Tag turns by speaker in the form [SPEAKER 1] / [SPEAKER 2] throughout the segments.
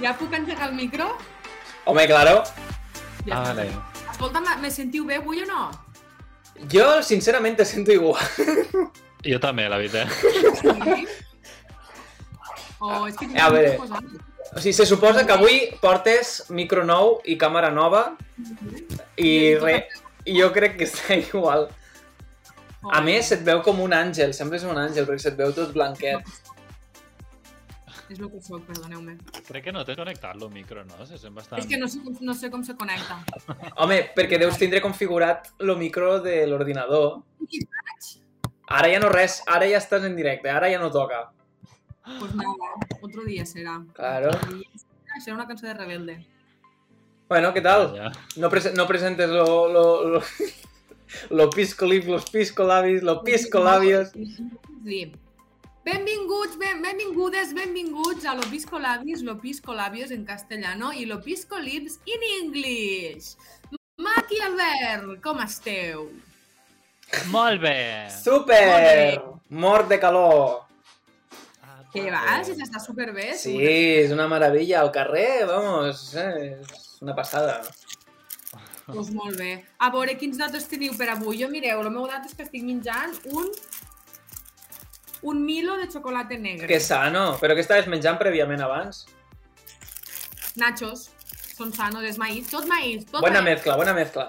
[SPEAKER 1] Ja puc engegar el micro?
[SPEAKER 2] Home, claro.
[SPEAKER 1] Ja
[SPEAKER 3] Ah,
[SPEAKER 1] està.
[SPEAKER 3] vale.
[SPEAKER 1] Escolta'm, me sentiu bé avui o no?
[SPEAKER 2] Jo, sincerament, te sento igual.
[SPEAKER 3] Jo també, la veritat.
[SPEAKER 1] Sí? Oh, és que tinc
[SPEAKER 2] Eh, A
[SPEAKER 1] un
[SPEAKER 2] veure.
[SPEAKER 1] micro posat.
[SPEAKER 2] O sigui, se suposa que avui portes micro nou i càmera nova
[SPEAKER 1] eh?
[SPEAKER 2] i, re, i jo crec que està igual.
[SPEAKER 1] Oh.
[SPEAKER 2] A més, et veu com un àngel, sembles un àngel, perquè se't veu tot blanquet.
[SPEAKER 1] És el que soc, perdoneu-me.
[SPEAKER 3] Crec que no tens connectat el micro, no? Se sent bastant...
[SPEAKER 1] És que no sé, no sé com se connecta.
[SPEAKER 2] Home, perquè deus tindre configurat el micro de l'ordinador. Ara ja no res, ara ja estàs en directe, ara ja no toca.
[SPEAKER 1] Pues nada, otro dia serà.
[SPEAKER 2] Claro.
[SPEAKER 1] Otro dia serà, Serà una cançó de Rebelde.
[SPEAKER 2] Bueno, què tal?
[SPEAKER 3] Ah, Ja.
[SPEAKER 2] No, prese- no presentes lo, lo, lo, lo pisco lip, los pisco labis, lo pisco labios.
[SPEAKER 1] Sí. Benvinguts, ben, benvingudes, benvinguts a Lo Pisco Labios, Lo Pisco Labios en castellano i Lo Pisco Lips in English. Maki Albert, com esteu?
[SPEAKER 3] Molt bé!
[SPEAKER 2] Super! Mort de calor!
[SPEAKER 3] Ah,
[SPEAKER 1] Què
[SPEAKER 3] vale.
[SPEAKER 1] va? Si s'està superbé.
[SPEAKER 2] Sí,
[SPEAKER 1] segur.
[SPEAKER 2] és una meravella. Al carrer, vamos, eh, és una passada.
[SPEAKER 1] Doncs molt bé. A veure, quins dates teniu per avui? Jo mireu, el meu dat és que estic menjant un un Milo de xocolata negra.
[SPEAKER 2] Que sano. Però què estaves menjant prèviament abans?
[SPEAKER 1] Nachos. Són sanos, és maïs. Tot maïs, tot
[SPEAKER 2] Bona
[SPEAKER 1] maïs.
[SPEAKER 2] mezcla, bona mezcla.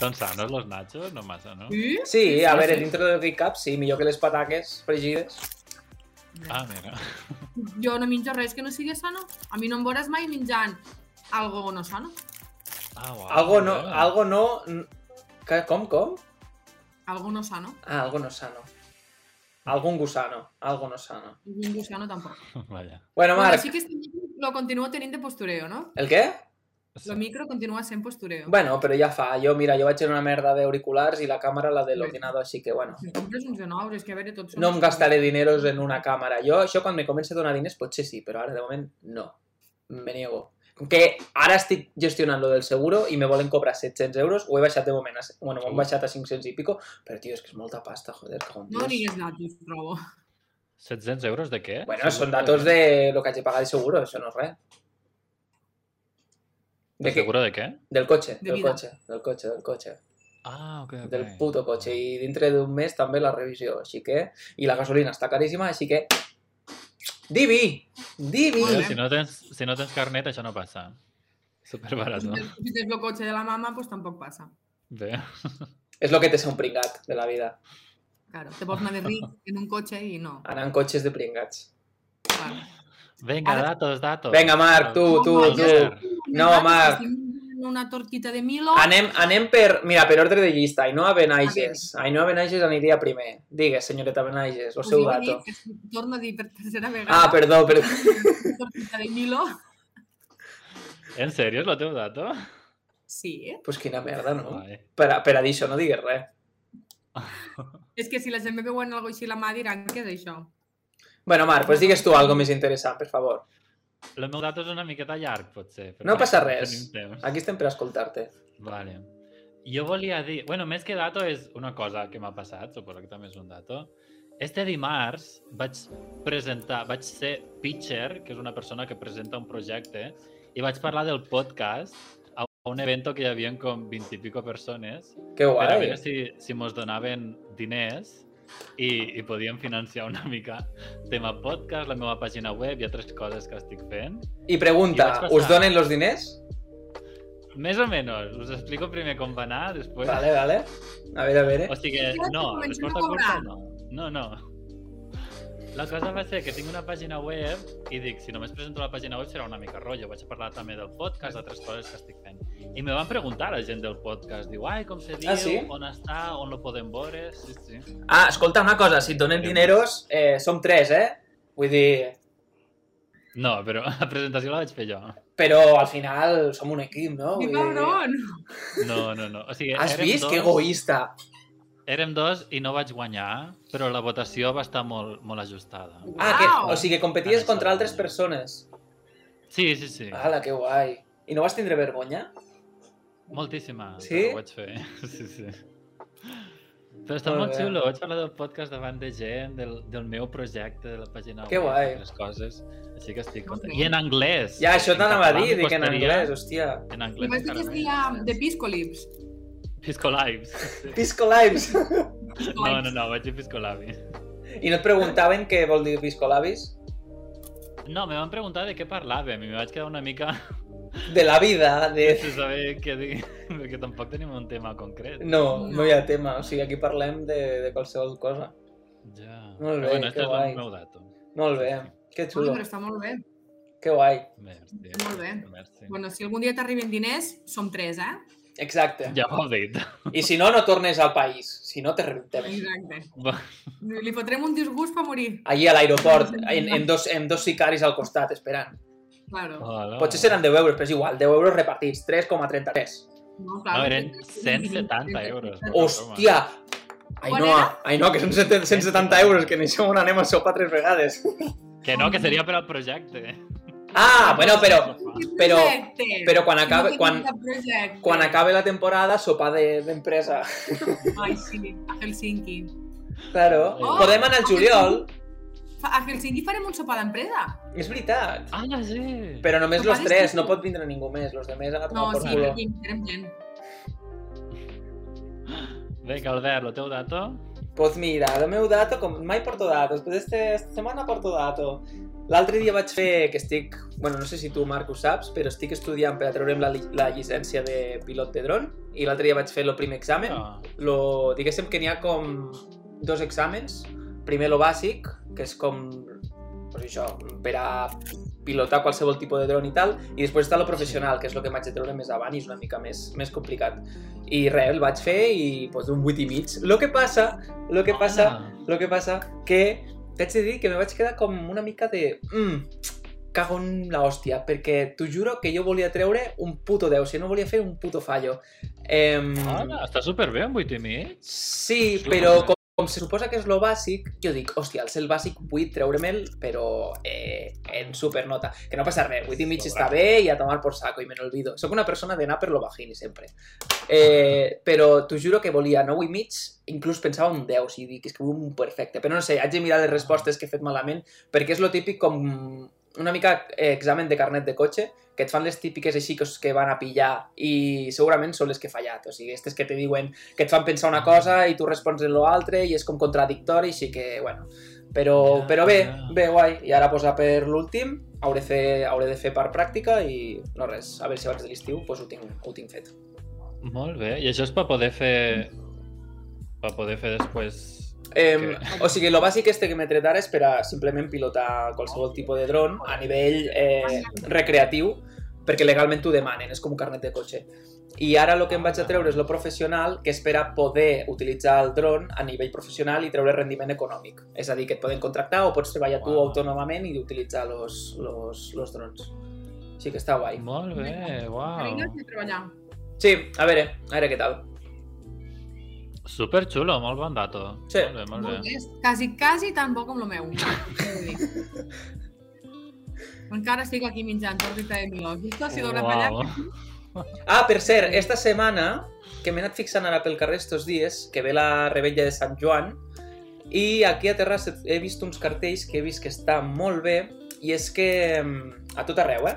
[SPEAKER 3] Són sanos los nachos? No massa, no?
[SPEAKER 1] Sí?
[SPEAKER 2] Mm. Sí, a
[SPEAKER 1] sí,
[SPEAKER 2] veure,
[SPEAKER 1] sí.
[SPEAKER 2] dintre del Big Cup, sí, millor que les pataques fregides.
[SPEAKER 3] Ah, mira.
[SPEAKER 1] Jo no menjo res que no sigui sano. A mi no em veuràs mai menjant algo no sano.
[SPEAKER 3] Ah, uau,
[SPEAKER 2] Algo no,
[SPEAKER 3] mira.
[SPEAKER 2] algo no... n- que- Com, com?
[SPEAKER 1] Algo no sano.
[SPEAKER 2] Ah, algo no sano. Algun gusano, algo no sano.
[SPEAKER 1] Ningú sano tampoc.
[SPEAKER 3] Vaja.
[SPEAKER 2] Bueno,
[SPEAKER 1] Bueno,
[SPEAKER 2] Marc,
[SPEAKER 1] sí que este micro lo continuo tenint de postureo, no?
[SPEAKER 2] el què?
[SPEAKER 1] Lo micro continua sent postureo.
[SPEAKER 2] Bueno, però ja fa. Jo, mira, jo vaig en una merda d'auriculars i la càmera la de l'ordinador, així que, bueno,
[SPEAKER 1] Si compres uns de nous, és que a veure, tots són...
[SPEAKER 2] no em gastaré dineros en una càmera. Jo, això, quan me comença a donar diners, potser pues sí, però ara, de moment, no. Me niego. Com que ara estic gestionant lo del seguro i me volen cobrar 700 euros, ho he baixat de moment a... se- Bueno, ho hem baixat a 500 i pico, però, tio, és que és molta pasta, joder, cago en
[SPEAKER 1] No
[SPEAKER 2] Dios.
[SPEAKER 1] digues nachos, trobo.
[SPEAKER 3] 700 euros de què?
[SPEAKER 2] Bueno, són datos de lo que haig de pagar de seguro, això no és res.
[SPEAKER 3] De
[SPEAKER 2] De que,
[SPEAKER 3] Seguro de què?
[SPEAKER 2] del cotxe,
[SPEAKER 1] De
[SPEAKER 2] del
[SPEAKER 1] vida.
[SPEAKER 2] cotxe, del cotxe, del cotxe.
[SPEAKER 3] Ah, ok, ok.
[SPEAKER 2] del puto cotxe i dintre d'un mes també la revisió, així que... I la gasolina està caríssima, així que... Divi! Divi!
[SPEAKER 3] Però si no tens, si no tens carnet, això no passa. Superbarat,
[SPEAKER 1] Si
[SPEAKER 3] no?
[SPEAKER 1] tens- Si tens el cotxe de la mama, doncs tampoc passa.
[SPEAKER 3] Bé.
[SPEAKER 2] És el que té ser un pringat de la vida.
[SPEAKER 1] Claro, te pots anar de ric en un cotxe i no.
[SPEAKER 2] Anar en cotxes de pringats.
[SPEAKER 1] Claro.
[SPEAKER 3] Vinga,
[SPEAKER 1] Ara-
[SPEAKER 3] datos, datos.
[SPEAKER 2] Venga, Marc, tu, tu,
[SPEAKER 1] Home,
[SPEAKER 2] tu. No, Marc.
[SPEAKER 1] Estic Una tortita de Milo.
[SPEAKER 2] Anem, anem per, mira, per ordre de llista. Ainhoa Benaiges. Ainhoa Benaiges aniria primer. Digues, senyoreta Benaiges, el
[SPEAKER 1] Us
[SPEAKER 2] seu
[SPEAKER 1] ho he dit,
[SPEAKER 2] dato.
[SPEAKER 1] que si Torno a dir per tercera vegada.
[SPEAKER 2] Ah, perdó, perdó.
[SPEAKER 1] Una tortita de Milo.
[SPEAKER 3] En sèrio, és el teu dato?
[SPEAKER 1] Sí.
[SPEAKER 2] Pues quina merda, no?
[SPEAKER 3] Vale.
[SPEAKER 2] Per a, per a dir això no digues res.
[SPEAKER 1] És que si la gent me veu en alguna així a la mà diran què és això.
[SPEAKER 2] Bueno, Marc, pues digues tu algo més interessant, per favor.
[SPEAKER 3] El meu dato és una miqueta llarg, potser. Però
[SPEAKER 2] No passa
[SPEAKER 3] bueno,
[SPEAKER 2] res.
[SPEAKER 3] tenim temps.
[SPEAKER 2] Aquí estem per escoltar-te.
[SPEAKER 3] Vale. Jo volia dir... Bueno, més que dato és una cosa que m'ha passat, suposo que també és un dato. Este dimarts vaig presentar, vaig ser pitcher, que és una persona que presenta un projecte, i vaig parlar del podcast a un evento que hi havia com 20 i pico persones
[SPEAKER 2] Que
[SPEAKER 3] per a
[SPEAKER 2] guai.
[SPEAKER 3] veure si, si mos donaven diners i, i podíem financiar una mica tema podcast, la meva pàgina web i altres coses que estic fent.
[SPEAKER 2] I
[SPEAKER 3] I vaig
[SPEAKER 2] pregunta,
[SPEAKER 3] passar.
[SPEAKER 2] ¿us donen los diners?
[SPEAKER 3] Més o menys, us explico primer com va anar, després...
[SPEAKER 2] Vale, vale. A ver, a ver.
[SPEAKER 3] O sigui que,
[SPEAKER 1] Ja
[SPEAKER 3] no,
[SPEAKER 1] comencem
[SPEAKER 3] resposta
[SPEAKER 1] a
[SPEAKER 3] curta
[SPEAKER 1] cobrar.
[SPEAKER 3] no. No, no. La cosa va ser que tinc una pàgina web i dic, si només presento la pàgina web serà una mica rotllo. Vaig a parlar també del podcast, d'altres coses que estic fent. I me van preguntar la gent del podcast. Diu, ai, com se diu,
[SPEAKER 2] Ah, sí?
[SPEAKER 3] on està, on lo podem veure... Sí, sí.
[SPEAKER 2] Ah, escolta una cosa, si et donen dineros, eh, som tres, eh? Vull dir,
[SPEAKER 3] No, però la presentació la vaig fer jo.
[SPEAKER 2] però al final som un equip, no?
[SPEAKER 1] Que
[SPEAKER 2] Vull dir,
[SPEAKER 1] cabron!
[SPEAKER 3] No, no, no. O sigui,
[SPEAKER 2] Has
[SPEAKER 3] érem
[SPEAKER 2] vist?
[SPEAKER 3] dos-
[SPEAKER 2] Que egoista.
[SPEAKER 3] Érem dos i no vaig guanyar, però la votació va estar molt, molt ajustada.
[SPEAKER 2] Ah, que,
[SPEAKER 1] Uau!
[SPEAKER 2] o sigui, competies
[SPEAKER 3] Ah,
[SPEAKER 2] contra
[SPEAKER 3] sí.
[SPEAKER 2] altres persones.
[SPEAKER 3] Sí, sí, sí.
[SPEAKER 2] Hala, que guai. I no vas tindre vergonya?
[SPEAKER 3] Moltíssima.
[SPEAKER 2] Sí?
[SPEAKER 3] Ho vaig fer. Sí, sí. Però està
[SPEAKER 2] Molt
[SPEAKER 3] molt
[SPEAKER 2] bé.
[SPEAKER 3] xulo, vaig parlar del podcast davant de gent, del, del meu projecte, de la pàgina web,
[SPEAKER 2] Que guai.
[SPEAKER 3] les coses, així que estic content.
[SPEAKER 1] bé.
[SPEAKER 3] I en anglès!
[SPEAKER 2] Ja, això
[SPEAKER 3] En
[SPEAKER 2] t'anava a
[SPEAKER 3] català
[SPEAKER 2] dir,
[SPEAKER 3] em
[SPEAKER 2] dic en
[SPEAKER 3] costaria-
[SPEAKER 2] anglès, hòstia.
[SPEAKER 3] En
[SPEAKER 1] Li
[SPEAKER 3] anglès
[SPEAKER 1] vaig dir que
[SPEAKER 3] encara
[SPEAKER 1] es
[SPEAKER 3] més.
[SPEAKER 1] deia The Pisco Lips.
[SPEAKER 3] Pisco Lives.
[SPEAKER 2] Pisco Lives.
[SPEAKER 1] Pisco
[SPEAKER 3] No, no,
[SPEAKER 1] Lips.
[SPEAKER 3] no, vaig dir Pisco Lavi.
[SPEAKER 2] I no et preguntaven què vol dir Pisco Labis?
[SPEAKER 3] No, me van preguntar de què parlàvem i me vaig quedar una mica
[SPEAKER 2] De la vida, de...
[SPEAKER 3] sense saber què dir, perquè tampoc tenim un tema concret.
[SPEAKER 2] No, no hi ha tema, o sigui, aquí parlem de, de qualsevol cosa.
[SPEAKER 3] Ja.
[SPEAKER 2] Molt bé,
[SPEAKER 3] Però bueno,
[SPEAKER 2] que
[SPEAKER 3] este és
[SPEAKER 2] guai.
[SPEAKER 3] el meu dato.
[SPEAKER 2] Molt bé, que
[SPEAKER 1] Ui,
[SPEAKER 2] xulo,
[SPEAKER 1] però està molt bé.
[SPEAKER 2] que guai.
[SPEAKER 3] Merci.
[SPEAKER 1] Molt bé.
[SPEAKER 3] Merci.
[SPEAKER 1] Bueno, si algun dia t'arriben diners, som tres, eh?
[SPEAKER 2] Exacte.
[SPEAKER 3] Ja ho heu dit.
[SPEAKER 2] I si no, no tornes al país, si no te rebentem.
[SPEAKER 1] Exacte.
[SPEAKER 3] Va,
[SPEAKER 1] Li fotrem un disgust per morir.
[SPEAKER 2] Allí a l'aeroport, en, en, dos, en dos sicaris al costat, esperant.
[SPEAKER 1] Claro.
[SPEAKER 3] Hola.
[SPEAKER 2] Potser seran 10 euros, però és igual, 10 euros repartits, 3,33.
[SPEAKER 1] No,
[SPEAKER 3] No,
[SPEAKER 1] claro.
[SPEAKER 3] eren 170 euros.
[SPEAKER 2] Hòstia! Ainhoa, Ainhoa, que són 700 170 euros, que en això on anem a sopar tres vegades.
[SPEAKER 3] Que no, que seria per al projecte.
[SPEAKER 2] Ah, bueno, però, però- però quan acabe-
[SPEAKER 1] acabe...
[SPEAKER 2] quan- quan acabe la temporada, sopar de- d'empresa.
[SPEAKER 1] Ai, sí, a Helsinki.
[SPEAKER 2] Claro.
[SPEAKER 3] Oh!
[SPEAKER 2] Podem anar al juliol.
[SPEAKER 1] Fa- A Helsinki farem un sopar d'empresa.
[SPEAKER 2] És veritat.
[SPEAKER 3] Ah, no sé.
[SPEAKER 2] Però només
[SPEAKER 1] Sopar
[SPEAKER 2] los tres,
[SPEAKER 1] d'estiu.
[SPEAKER 2] no pot vindre ningú més. Los demés han
[SPEAKER 1] No,
[SPEAKER 2] anat por
[SPEAKER 1] sí,
[SPEAKER 2] culo.
[SPEAKER 1] perquè invitarem gent.
[SPEAKER 3] Vinga, Albert, el teu dato.
[SPEAKER 2] Pues mira, el meu dato, com mai porto datos, però este, esta setmana porto dato. L'altre dia vaig fer, que estic, bueno, no sé si tu, Marc, ho saps, però estic estudiant per a treure'm la, li- la llicència de pilot de dron, i l'altre dia vaig fer el primer examen.
[SPEAKER 3] Ah,
[SPEAKER 2] lo, diguéssim que n'hi ha com dos exàmens. Primer, lo bàsic, que és com pues això, per a pilotar qualsevol tipus de dron i tal, i després està lo professional, que és el que m'haig de treure més avant i és una mica més, més complicat. I res, el vaig fer i pues, un 8 i mig. Lo que passa, lo que passa, lo que passa que t'haig de dir que me vaig quedar com una mica de... Mm, cago en la hòstia, perquè t'ho juro que jo volia treure un puto 10, o sigui, no volia fer un puto fallo. Eh,
[SPEAKER 3] Hola, està superbé amb 8 i mig.
[SPEAKER 2] Sí,
[SPEAKER 3] Sí,
[SPEAKER 2] però
[SPEAKER 3] home.
[SPEAKER 2] com, com se suposa que és lo bàsic, jo dic, hòstia, al ser el bàsic vull treure-me'l, però eh, en supernota. Que no passa res, 8 i mig està bé i a tomar por saco, i me n'olvido. Soc una persona d'anar per lo bajini, sempre. Eh, però t'ho juro que volia 9 i mig, inclús pensava un 10, o sigui, dic, és que vull un perfecte. Però no sé, haig de mirar les respostes que he fet malament, perquè és lo típic com una mica eh, examen de carnet de cotxe, que et fan les típiques així que, que van a pillar i segurament són les que he fallat. O sigui, aquestes que te diuen que et fan pensar una cosa i tu respons en l'altre i és com contradictori, així que, bueno... Però,
[SPEAKER 3] Ja,
[SPEAKER 2] però bé,
[SPEAKER 3] ja.
[SPEAKER 2] bé, guai. I ara posar per l'últim, hauré, fer, hauré de fer part pràctica i no res, a veure si abans de l'estiu pues, ho, tinc, ho tinc fet.
[SPEAKER 3] Molt bé. I això és per poder fer... Per poder fer després...
[SPEAKER 2] Eh, o sigui, lo bàsic este que m'he tret ara és per a simplement pilotar qualsevol tipus de dron a nivell eh, recreatiu, perquè legalment t'ho demanen, és com un carnet de cotxe. I ara el que em vaig a treure és lo professional, que és per a poder utilitzar el dron a nivell professional i treure rendiment econòmic. És a dir, que et poden contractar o pots treballar tu
[SPEAKER 3] Uau.
[SPEAKER 2] autònomament i utilitzar los, los, los drons. Així que està guai.
[SPEAKER 3] Molt bé, uau.
[SPEAKER 1] Vinga, a treballar.
[SPEAKER 2] Sí, a veure, a veure què tal.
[SPEAKER 3] Super xulo, molt bon dato.
[SPEAKER 2] Sí.
[SPEAKER 3] Molt bé, molt
[SPEAKER 1] Molt
[SPEAKER 3] bé.
[SPEAKER 1] bé. Quasi, quasi tan bo com el meu. Què vull dir? Encara estic aquí mitjant tortita de milos. Esto ha sido una
[SPEAKER 3] Uau.
[SPEAKER 1] pallada.
[SPEAKER 2] Ah, per cert, esta setmana, que m'he anat fixant ara pel carrer estos dies, que ve la rebella de Sant Joan, i aquí a Terrassa he vist uns cartells que he vist que està molt bé, i és que mm, a tot arreu, eh?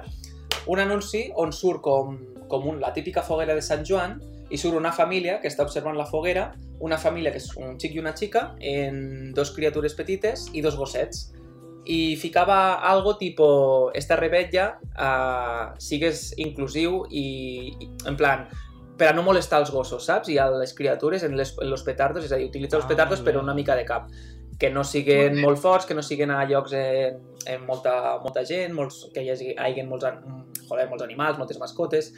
[SPEAKER 2] Un anunci on surt com, com un, la típica foguera de Sant Joan, i surt una família que està observant la foguera, una família que és un xic i una xica, en dos criatures petites i dos gossets. I ficava algo tipo, esta rebetlla uh, sigues inclusiu i, i, en plan, per a no molestar els gossos, saps? I a les criatures, en, les, en los petardos, és a dir, utilitza els
[SPEAKER 3] Ah,
[SPEAKER 2] petardos
[SPEAKER 3] molt bé.
[SPEAKER 2] però una mica de cap. Que no
[SPEAKER 1] Molt
[SPEAKER 2] siguen
[SPEAKER 1] bé.
[SPEAKER 2] molt forts, que no siguen a llocs en, en molta, molta gent, molts, que hi hagi, hi hagi molts, an- joder, molts animals, moltes mascotes,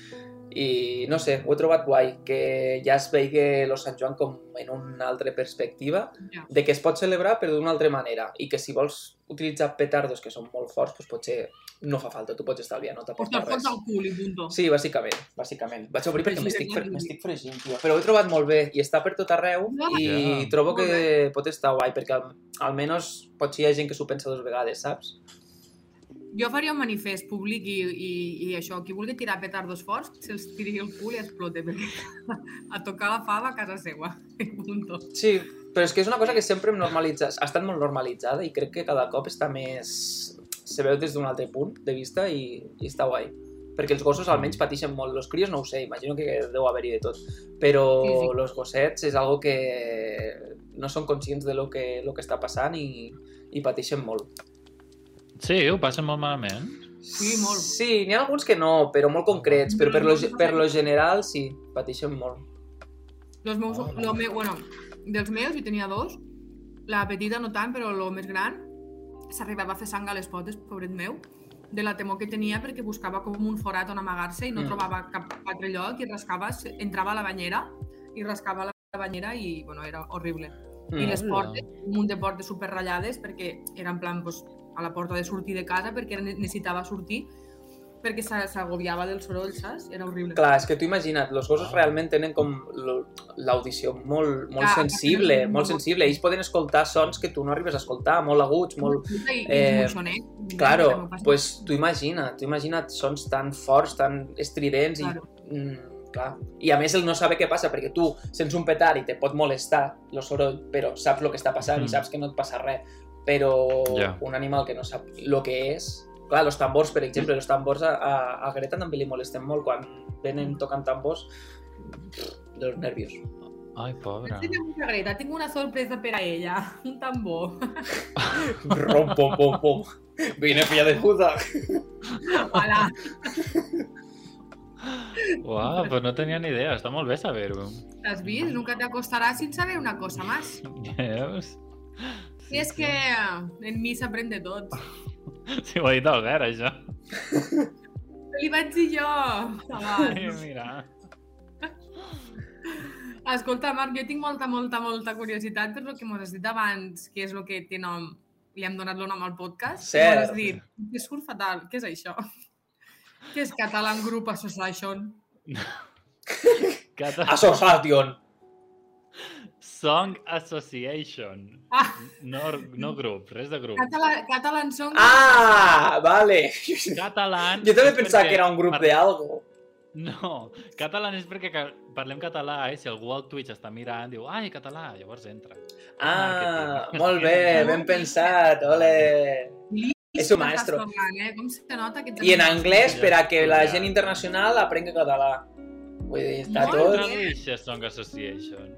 [SPEAKER 2] i no sé, ho he trobat guai, que ja es veigui lo Sant Joan com en una altra perspectiva,
[SPEAKER 1] Ja.
[SPEAKER 2] de que es pot celebrar però d'una altra manera i que si vols utilitzar petardos que són molt forts, doncs potser no fa falta, tu pots estalviar, no
[SPEAKER 1] Pues te'l
[SPEAKER 2] t'aporta
[SPEAKER 1] fots
[SPEAKER 2] res.
[SPEAKER 1] al cul i punto.
[SPEAKER 2] Sí, bàsicament, bàsicament. Vaig obrir perquè
[SPEAKER 1] Fregir,
[SPEAKER 2] m'estic fre
[SPEAKER 1] fregir.
[SPEAKER 2] m'estic fregint, tio. Però ho he trobat molt bé i està per tot arreu i
[SPEAKER 3] Ja.
[SPEAKER 2] trobo
[SPEAKER 1] Molt
[SPEAKER 2] que pot estar guai perquè al, almenys potser hi ha gent que s'ho pensa dues vegades, saps?
[SPEAKER 1] Jo faria un manifest públic i, i, i això, qui vulgui tirar petardos forts, se'ls tiri el cul i explote, perquè a tocar la fava a casa seva. I punto.
[SPEAKER 2] Sí, però és que és una cosa que sempre hem normalitzat, ha estat molt normalitzada i crec que cada cop està més... se veu des d'un altre punt de vista i, i està guai. Perquè els gossos almenys pateixen molt. Els crios no ho sé, imagino que deu haver-hi de tot. Però
[SPEAKER 1] Sí, sí.
[SPEAKER 2] els gossets és algo que no són conscients de lo que, lo que està passant i, i pateixen molt.
[SPEAKER 3] Sí, ho passen molt malament.
[SPEAKER 1] Sí, molt.
[SPEAKER 2] Sí, n'hi ha alguns que no, però molt concrets. Però per lo, ge- per lo general sí, pateixen molt.
[SPEAKER 1] Los meus,
[SPEAKER 2] Ah,
[SPEAKER 1] lo meu, bueno, dels meus, jo tenia dos, la petita no tant, però el més gran, s'arribava a fer sang a les potes, pobret meu, de la temor que tenia perquè buscava com un forat on amagar-se i no
[SPEAKER 2] Mm.
[SPEAKER 1] mm. trobava cap altre lloc i rascava, se- entrava a la banyera i rascava la banyera i, bueno, era horrible. I
[SPEAKER 2] Mm.
[SPEAKER 1] les
[SPEAKER 3] Hola.
[SPEAKER 1] portes, un munt de portes superratllades perquè era en plan pues, a la porta de sortir de casa perquè era- necessitava sortir perquè s'a- s'agobiava del soroll, saps? Era horrible.
[SPEAKER 2] Mm, Clar, és que tu imagina't, els gossos realment tenen com lo- l'audició molt, molt
[SPEAKER 1] Clar,
[SPEAKER 2] sensible,
[SPEAKER 1] tenen molt-
[SPEAKER 2] molt sensible. Ells poden escoltar sons que tu no arribes a escoltar, molt aguts, molt...
[SPEAKER 1] I, i
[SPEAKER 2] eh,
[SPEAKER 1] és moixonet,
[SPEAKER 2] Claro,
[SPEAKER 1] també passa.
[SPEAKER 2] pues tu imagina't, tu imagina't sons tan forts, tan estridents i...
[SPEAKER 1] Claro.
[SPEAKER 2] Mm, clar. I a més ell no sabe què passa, perquè tu sents un petard i te pot molestar el soroll, però saps el que està passant
[SPEAKER 3] Mm.
[SPEAKER 2] i saps que no et passa res. Però
[SPEAKER 3] Ja.
[SPEAKER 2] un animal que no sap el que és... Clar, els tambors, per exemple, els tambors a, a, a Greta també li molesten molt quan
[SPEAKER 1] Mm.
[SPEAKER 2] venen tocant tambors dels nervios.
[SPEAKER 3] Ai, pobre.
[SPEAKER 1] Tiene mucha Greta, tengo una sorpresa para ella. Un tambor.
[SPEAKER 2] Rom, pom, pom, pom. Vine, filla de puta.
[SPEAKER 1] Hola.
[SPEAKER 3] Uau, però no tenia ni idea. Està molt bé saber-ho.
[SPEAKER 1] ¿Has visto? Nunca te acostarás sin saber una cosa más.
[SPEAKER 3] Veus?
[SPEAKER 1] Y es que en mí se aprende todo.
[SPEAKER 3] Sí, ho ha dit Albert, això.
[SPEAKER 1] Li vaig dir jo,
[SPEAKER 3] Ai,
[SPEAKER 1] abans.
[SPEAKER 3] mira.
[SPEAKER 1] Escolta, Marc, jo tinc molta, molta, molta curiositat per el que m'has dit abans, que és el que té nom, li hem donat el nom al podcast. i
[SPEAKER 2] Cert.
[SPEAKER 1] M'has dit, que surt fatal, què és això? Què és Catalan Group Association?
[SPEAKER 3] Cata...
[SPEAKER 2] Association.
[SPEAKER 3] Song Association.
[SPEAKER 1] Ah.
[SPEAKER 3] No, no grup, res de grup.
[SPEAKER 1] Catalan, Catalan Song...
[SPEAKER 2] Ah, vale.
[SPEAKER 3] Catalan...
[SPEAKER 2] Jo també
[SPEAKER 3] és
[SPEAKER 2] pensava
[SPEAKER 3] perquè
[SPEAKER 2] que era un grup
[SPEAKER 3] par-
[SPEAKER 2] de algo.
[SPEAKER 3] No, catalan és perquè ca- parlem català i si algú al Twitch està mirant diu ai, català, llavors entra.
[SPEAKER 2] Ah,
[SPEAKER 3] Marketing.
[SPEAKER 2] molt bé, ben pensat, ole. És un maestro.
[SPEAKER 1] Estàs parlant, eh? Com se nota que... ets
[SPEAKER 2] I en
[SPEAKER 1] un-
[SPEAKER 2] anglès per a que la gent internacional aprengui català. Vull dir, està
[SPEAKER 1] Molt
[SPEAKER 3] Com
[SPEAKER 2] tot.
[SPEAKER 3] tradueixes Song Association?